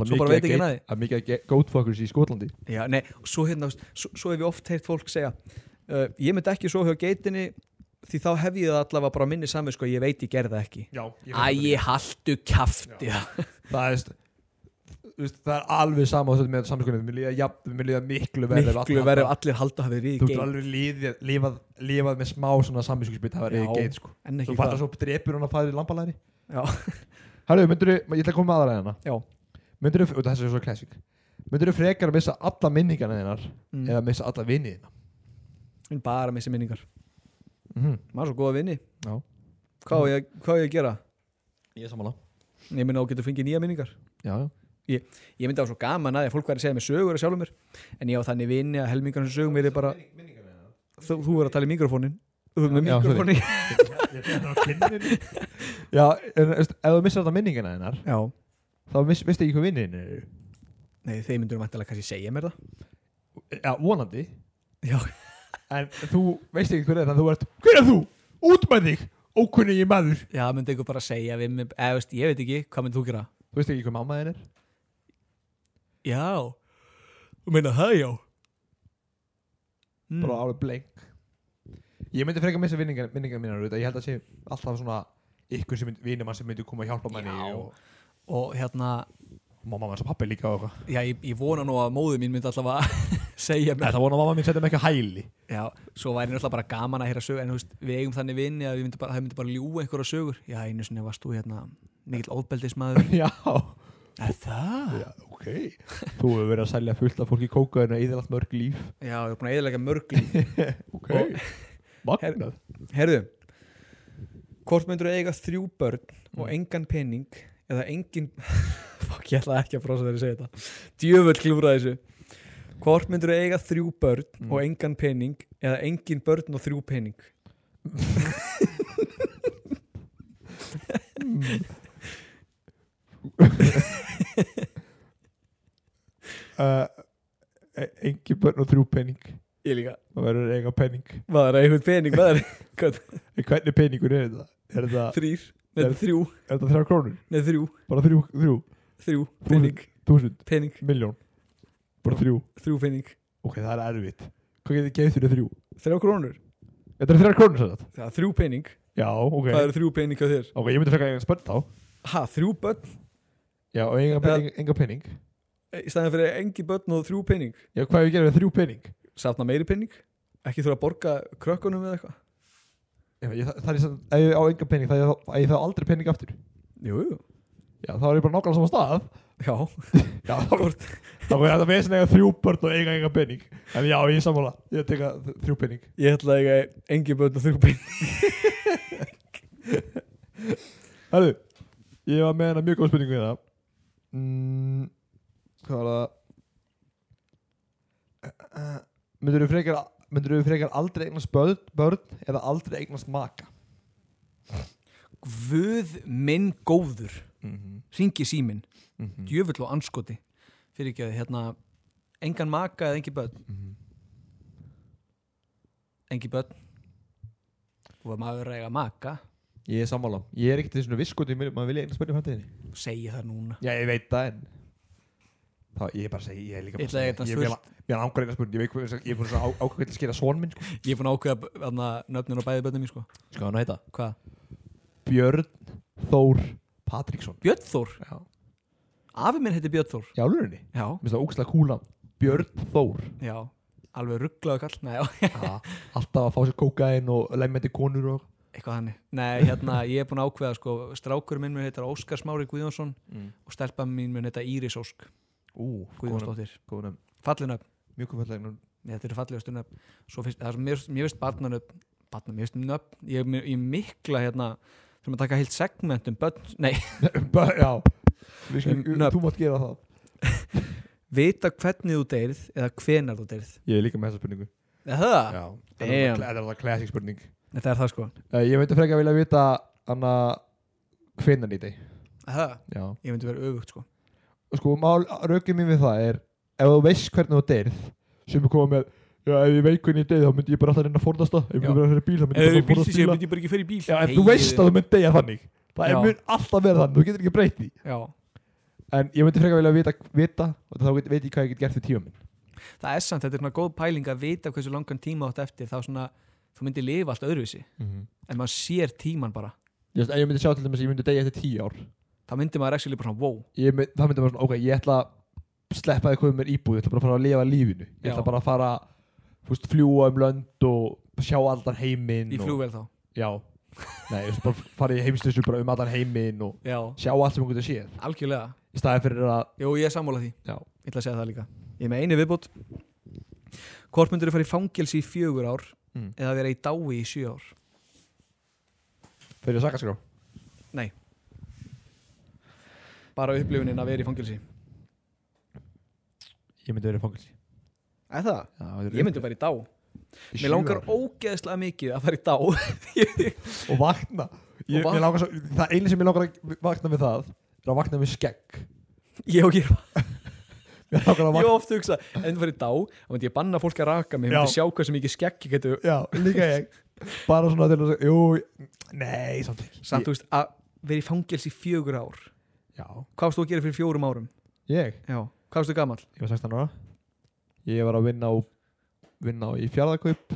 Speaker 3: Svo bara veit ekki
Speaker 2: Það
Speaker 3: næði
Speaker 2: er mikið að ge- goatfuckers í Skotlandi
Speaker 3: Já, nei, og svo hérna, veist, svo, svo hef ég oft heyrt fólk segja uh, Ég myndi ekki svo hjá geitinni því þá hef ég það allavega bara á minni samið sko, ég veit ég gerði það ekki
Speaker 2: Já,
Speaker 3: Æ, haltu kjafti
Speaker 2: Það er veist, þú veist, Það er alveg sama á þetta með samskunni Mér líða jafn, mér líða miklu verið
Speaker 3: Miklu verið ef allir halda hafið
Speaker 2: Þú
Speaker 3: ríði
Speaker 2: getur
Speaker 3: geit
Speaker 2: alveg lífað, lífað, lífað með smá svona samvískjöspit Það verið
Speaker 3: Já,
Speaker 2: geit sko
Speaker 3: En ekki
Speaker 2: Þú fattar
Speaker 3: hvað
Speaker 2: svo drepur hún að fara í lambalæri
Speaker 3: Já.
Speaker 2: Herru, myndirðu, ég ætla að koma með aðra hérna
Speaker 3: Já.
Speaker 2: Myndirðu, og þessi er svo klassik Myndirðu frekar að missa alla minningarna þinnar Eða missa alla vinið þinnar
Speaker 3: Mm. Bara með þessi minningar
Speaker 2: Mhm.
Speaker 3: Maður er svo góða vinni
Speaker 2: Já.
Speaker 3: Hvað á ég, hvað á ég að gera?
Speaker 2: Ég er sammála
Speaker 3: Ég minna á getur fengið nýja minningar
Speaker 2: Já, já
Speaker 3: ég myndi á svo gaman að því að fólk væri að segja mér sögur að sjálfum mér en ég á þannig vini að helmingarnum sögum er bara þú, þú er að tala í mikrofónin þú er með
Speaker 2: Já, sorry.
Speaker 3: mikrofónin
Speaker 2: Já, en þú veist, ef þú missir þetta minningina þennar
Speaker 3: já,
Speaker 2: þá miss, misstu ekki hvað vinnin eru
Speaker 3: nei þeir myndur vantilega kannski segja mér það
Speaker 2: Já, vonandi
Speaker 3: já,
Speaker 2: En þú veist ekki hver er það, þú ert Hver er þú? Út með þig, ókunni ég maður
Speaker 3: já myndi ykkur bara segja við mig eða veist, ég veit ekki, hvað mynd þú gera
Speaker 2: Þú veist ekki hvað mamma þinn er?
Speaker 3: já, þú meina það já Mm.
Speaker 2: Bara alveg blenk Ég myndi frekar missa vinningar, minningar mínar auðvitað. Ég held að sé alltaf svona ykkur sem myndi, vinur mann sem myndi koma að hjálpa manni
Speaker 3: Já.
Speaker 2: og
Speaker 3: og hérna,
Speaker 2: mamma manns og pappi líka og eitthvað
Speaker 3: já ég, ég vona nú að móðu mín myndi allavega segja mér
Speaker 2: Þetta vona mamma mín setja mig ekki að hæli
Speaker 3: Já, svo væri náttúrulega bara gaman að heyra sögur en þú veist, við eigum þannig vinni að við myndum bara, það myndum bara ljúa einhverja sögur Já, einu sinni varst þú hérna mikill ofbeldismæður
Speaker 2: Já,
Speaker 3: Er það?
Speaker 2: Já ok Þú hefur verið að selja fullt af fólki kókaðinu og eðalagt mörg líf
Speaker 3: Já, ég er búin að eðalega mörg líf
Speaker 2: Ok,
Speaker 3: Og-
Speaker 2: magnað
Speaker 3: Herðu, hvort myndur þú eiga þrjú börn og engan pening eða engin Fokk, ég ætla ekki að brosa þegar ég segi þetta Djöfull klúra þessu Hvort myndur þú eiga þrjú börn og engan pening eða engin börn og þrjú pening
Speaker 2: uh, Engi börn og þrjú penning
Speaker 3: Ég líka,
Speaker 2: Það verður eiga penning
Speaker 3: maður er einhvern pening, maður er hvað,
Speaker 2: En hvernig penningur er þetta? Er þetta,
Speaker 3: þrýr, neða þrjú,
Speaker 2: er þetta þrjá krónur?
Speaker 3: neða þrjú
Speaker 2: Bara þrjú, þrjú,
Speaker 3: þrjú
Speaker 2: Þúsund.
Speaker 3: pening,
Speaker 2: þúsund,
Speaker 3: pening,
Speaker 2: miljón Bara þrjú
Speaker 3: þrjú pening
Speaker 2: Ok, það er erfitt Hvað getur gefið fyrir þrjú?
Speaker 3: þrjá krónur,
Speaker 2: Þetta er þrjá krónur sem þetta?
Speaker 3: það er þrjú pening
Speaker 2: Já, ok
Speaker 3: hvað eru þrjú pening á þér?
Speaker 2: Ok, ég myndi frekar eiga spönn þá
Speaker 3: ha, þrjú börn
Speaker 2: Já, og
Speaker 3: Ja.
Speaker 2: enga, ja. enga penning
Speaker 3: í staðan fyrir engi börn og þrjú pening
Speaker 2: Já, hvað hefur gerðið við þrjú penning?
Speaker 3: safna meiri pening, ekki þurfa að borga krökkunum eða eitthvað,
Speaker 2: Já, ég, það, það er sem, ef ég á enga penning, það er þá- ég þá aldrei penning aftur
Speaker 3: jú, jú
Speaker 2: Já, þá er ég bara nákvæmlega saman stað
Speaker 3: já,
Speaker 2: Já, þá þá er þetta vesen að eiga þrjú börn og eiga enga penning En já, ég er sammála, ég tek að þ- þrjú penning
Speaker 3: ég ætla að eiga engi börn og þrjú pening
Speaker 2: Herru, ég var með hennar mjög góð spurningu í það mm, Hvað var það? Uh, myndur þú frekar myndur þú frekar aldrei eignast börn, börn eða aldrei eignast maka
Speaker 3: guð minn góður
Speaker 2: mm -hmm.
Speaker 3: ringi síminn,
Speaker 2: mhm.
Speaker 3: djöfull og anskoti fyrir ekki að hérna engan maka eða engi börn
Speaker 2: Mhm.
Speaker 3: engi börn og maður er að eiga maka
Speaker 2: Ég er sammála, ég er ekkert þessu visskoti maður vilja eignast börn í framtíðinni
Speaker 3: segja það núna
Speaker 2: Já, ég veit það en Þá, ég er bara að segja, ég er líka
Speaker 3: Ég
Speaker 2: bara
Speaker 3: ætla að eignast
Speaker 2: segja Ég vil- ég er ángur eignast börn, ég veit hvað- ég er búin að ákvæða til að skera son minn sko.
Speaker 3: Ég er búin að ákveða aðna, nöfnin á bæði bönnum mín sko
Speaker 2: Sko hann heita
Speaker 3: Hvað?
Speaker 2: Björn Þór Patríksson
Speaker 3: Björn Þór
Speaker 2: Já,
Speaker 3: Afi minn heiti Björn Þór
Speaker 2: já lurinni
Speaker 3: Já,
Speaker 2: Mér finnst það ógstlega kúla Björn Þór
Speaker 3: já Alveg rugglaðu kall Nei, já
Speaker 2: Alltaf að fá sér kókain og lemmendi konur og
Speaker 3: eitthvað hannig nei, hérna, ég er búin að ákveða sko, strákur minn mun heitar Óskar Smári Guðjónsson
Speaker 2: Mm.
Speaker 3: og stelpa mín mun heita Íris Ósk
Speaker 2: Ú, góðan
Speaker 3: Guðjónsdóttir,
Speaker 2: góðan
Speaker 3: fallin upp
Speaker 2: Mjög kvöldlegin
Speaker 3: þetta eru fallegustu nöfn Svo finnst, það er svo- mér, mér finnst barnan upp barnan, mér finnst nöfn, ég, mér- ég mikla hérna, þurfum að taka heilt segment um börn, nei,
Speaker 2: Já, Við skulum-
Speaker 3: Nöfn.
Speaker 2: þú mátt gera það
Speaker 3: vita hvernig þú deyrð eða hvenar þú deyrð
Speaker 2: Ég er líka með þessa spurningu
Speaker 3: er það?
Speaker 2: Já, þetta er
Speaker 3: Damn.
Speaker 2: alltaf- þetta er alltaf classic spurning
Speaker 3: þetta er það sko
Speaker 2: Eh, Ég myndi frekar vilja vita hana hvinnan í þig
Speaker 3: er það?
Speaker 2: Já
Speaker 3: ég myndi vera öfugt sko
Speaker 2: og sko, mál, rökið mín við það er ef þú veist hvernig þú deyrð sem er komið með, já, ef ég veit hvernig ég deyð þá myndi ég bara alltaf reyna að forðast það, ef ég
Speaker 3: Já.
Speaker 2: myndi vera að fyrir bíl þá myndi ég bara forðast bíla
Speaker 3: ég bara ekki fyrir bíl
Speaker 2: já, ef þú veist að þú myndi deyja þannig
Speaker 3: Já.
Speaker 2: það er mun alltaf verið þannig, þú getur ekki breytt því
Speaker 3: já.
Speaker 2: en ég myndi frekar vilja vita, vita og þá veit, veit ég hvað ég get gert við tíma minn
Speaker 3: það er samt, þetta er svona góð pæling að vita hversu langan tíma átt eftir þá svona, þú myndir lifa allt öðruvísi
Speaker 2: Mhm.
Speaker 3: en maður sér tíman bara
Speaker 2: Just, ef ég myndi sjá til dæmis að ég myndi deyja eftir tíu ár
Speaker 3: þá myndir maður ekki lípa svona, wow
Speaker 2: ég mynd, það myndi maður svona, ok, ég ætla að sleppa því komið mér íbúð, ég ætla bara að fara að lifa lífinu ég
Speaker 3: Já.
Speaker 2: ætla bara að fara, þú veist, fljúa um lönd og sjá allan heiminn
Speaker 3: í
Speaker 2: og-
Speaker 3: flugvel þá
Speaker 2: Já Nei, þú veist, bara farið í heimslissu bara um allan heiminn og
Speaker 3: já,
Speaker 2: sjá allt sem hún getur séð
Speaker 3: algjörlega,
Speaker 2: í staði fyrir að
Speaker 3: jú ég er sammála því
Speaker 2: Já.
Speaker 3: ég ætla að segja það líka, ég er með einu viðbútt hvort myndir þú fara í fangelsi í fjögur ár
Speaker 2: Mm.
Speaker 3: eða vera í dái í sjö ár
Speaker 2: fyrir að sakaskrá
Speaker 3: bara upplifunin að vera í fangelsi
Speaker 2: Ég myndi verið fangilsi
Speaker 3: er það? ég myndi bara í dá mér langar ógeðslega mikið að fara í dá
Speaker 2: og vakna, ég,
Speaker 3: Og vakna.
Speaker 2: Mér langar svo, það einu sem ég langar að vakna við það er að vakna við skegg
Speaker 3: ég og ég
Speaker 2: Mér langar að
Speaker 3: Ég
Speaker 2: vakna
Speaker 3: hef oft hugsa, en fyrir dá þá myndi ég banna fólk að raka mig, ég myndi
Speaker 2: Já.
Speaker 3: sjá hversu mikið skegg ég getur,
Speaker 2: Já, líka ég bara svona til að segja, jú nei, samt ekki
Speaker 3: samt þú veist að vera í fangels í fjögur ár
Speaker 2: Ég- Já,
Speaker 3: hvað varstu að gera fyrir fjórum árum?
Speaker 2: ég,
Speaker 3: Já, hvað varstu gamall?
Speaker 2: ég var 16 ára ég var að vinna á vinna á í fjárðakaup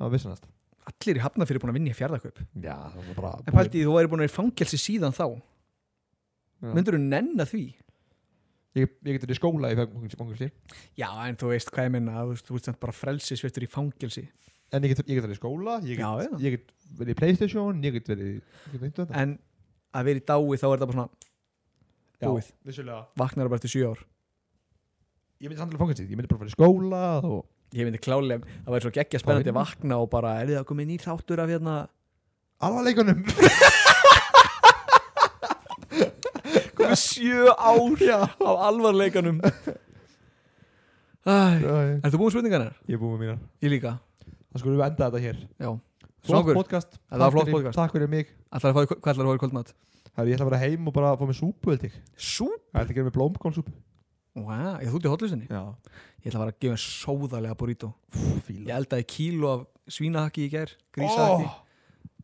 Speaker 2: á vissanast
Speaker 3: Allir í hafnafyrir búin að vinna í fjárðakaup
Speaker 2: Já, það var bara
Speaker 3: en pælti þú væri búin að vera í fangelsi síðan þá
Speaker 2: Já.
Speaker 3: myndur þú nenn að því?
Speaker 2: ég, ég getur í skóla í fangilsi
Speaker 3: Já, en þú veist hvað ég minna, þú veist, þú veist samt bara frelsisveftur í fangelsi
Speaker 2: En ég get, ég get verið í skóla, ég
Speaker 3: Já,
Speaker 2: get,
Speaker 3: já.
Speaker 2: ég get verið í Playstation, ég get verið í... Ég get verið í þetta.
Speaker 3: en að vera í dái þá er það bara svona, búið.
Speaker 2: Já, vissulega.
Speaker 3: vaknar bara eftir sjö ár
Speaker 2: Ég myndi samtilega fangast því, ég myndi bara fara í skóla og...
Speaker 3: ég myndi klálega, það væri svo geggja spennandi
Speaker 2: Þá
Speaker 3: að vakna og bara, er það komið nýr þáttur af hérna
Speaker 2: Alvarleikunum!
Speaker 3: komið sjö ár á alvarleikanum Æ,
Speaker 2: ég
Speaker 3: Ertu búin spurningarnar?
Speaker 2: er búið með mínar.
Speaker 3: Ég líka
Speaker 2: Það skulum við enda þetta hér.
Speaker 3: Já.
Speaker 2: Flott
Speaker 3: Svangur.
Speaker 2: podcast.
Speaker 3: Þetta var
Speaker 2: Takk
Speaker 3: flott
Speaker 2: fyrir-
Speaker 3: podcast.
Speaker 2: Takk fyrir mig.
Speaker 3: Ætlar að fá, Hvað ætlar að fá í kvöldmat?
Speaker 2: Herri, ég ætla að vera heim og bara fá mér súpu, held ég.
Speaker 3: Sú
Speaker 2: Það ætla að gera mér blómkálsúpu.
Speaker 3: Vá, ég þútti hotlistinni
Speaker 2: Já.
Speaker 3: Ég ætla að fara að gefa en sóðalega burrito Ég
Speaker 2: Fíla.
Speaker 3: eldaði kíló af svínahakki í gær Grísahakki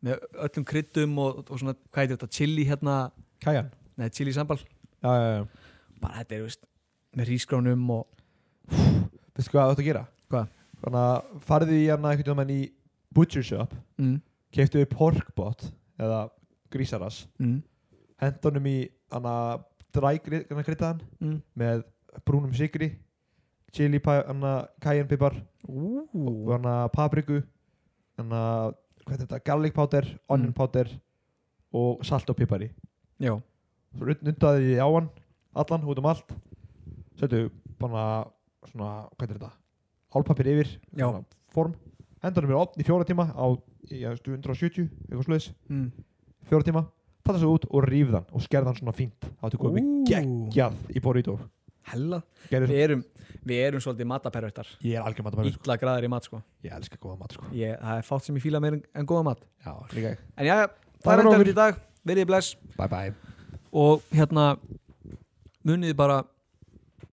Speaker 3: Með öllum kryddum og, og svona Hvað heitir þetta? Chili hérna
Speaker 2: Kæjan.
Speaker 3: Nei, chili sambal
Speaker 2: Já, já, já.
Speaker 3: Bara þetta er, veist Með rísgránum og
Speaker 2: Veistu hvað þú ætti að gera?
Speaker 3: Hvað?
Speaker 2: Þannig að farði ég hérna einhvern veginn í butcher shop,
Speaker 3: mm,
Speaker 2: keiptu við porkbot eða grísarass
Speaker 3: mm,
Speaker 2: hendunum í hana drækritaðan
Speaker 3: mm.
Speaker 2: með brúnum sigri chili, pa- hana cayennepipar og
Speaker 3: Ú,
Speaker 2: hana papriku hana, hvað er þetta, garlic powder onion
Speaker 3: Mm.
Speaker 2: powder og salt og pipari
Speaker 3: Já,
Speaker 2: svo nudd- nuddaði ég á hann allan, út um allt setu bara svona, hvað er þetta hálpapir yfir,
Speaker 3: Já.
Speaker 2: svona form hendunum í opn í fjóra tíma á í, ég veist, 170, eitthvað sluðis
Speaker 3: mm.
Speaker 2: fjóra tíma, tala svo út og ríf þann og skerð hann svona fínt, þá þetta komið
Speaker 3: Ú.
Speaker 2: geggjað í burrito
Speaker 3: hella
Speaker 2: Gerðu
Speaker 3: Við
Speaker 2: svo-
Speaker 3: erum, við erum svolítið matapervertar
Speaker 2: Ég er algjör matabæður
Speaker 3: Ítla graðar í mat sko
Speaker 2: Ég elska góða mat sko
Speaker 3: ég, Það er fátt sem ég fíla meir en, en góða mat
Speaker 2: Já, líka ég
Speaker 3: En já,
Speaker 2: Takk
Speaker 3: það er
Speaker 2: fyrir
Speaker 3: enda
Speaker 2: okkur.
Speaker 3: fyrir í dag Verðið bless
Speaker 2: Bye bye
Speaker 3: og hérna muniði bara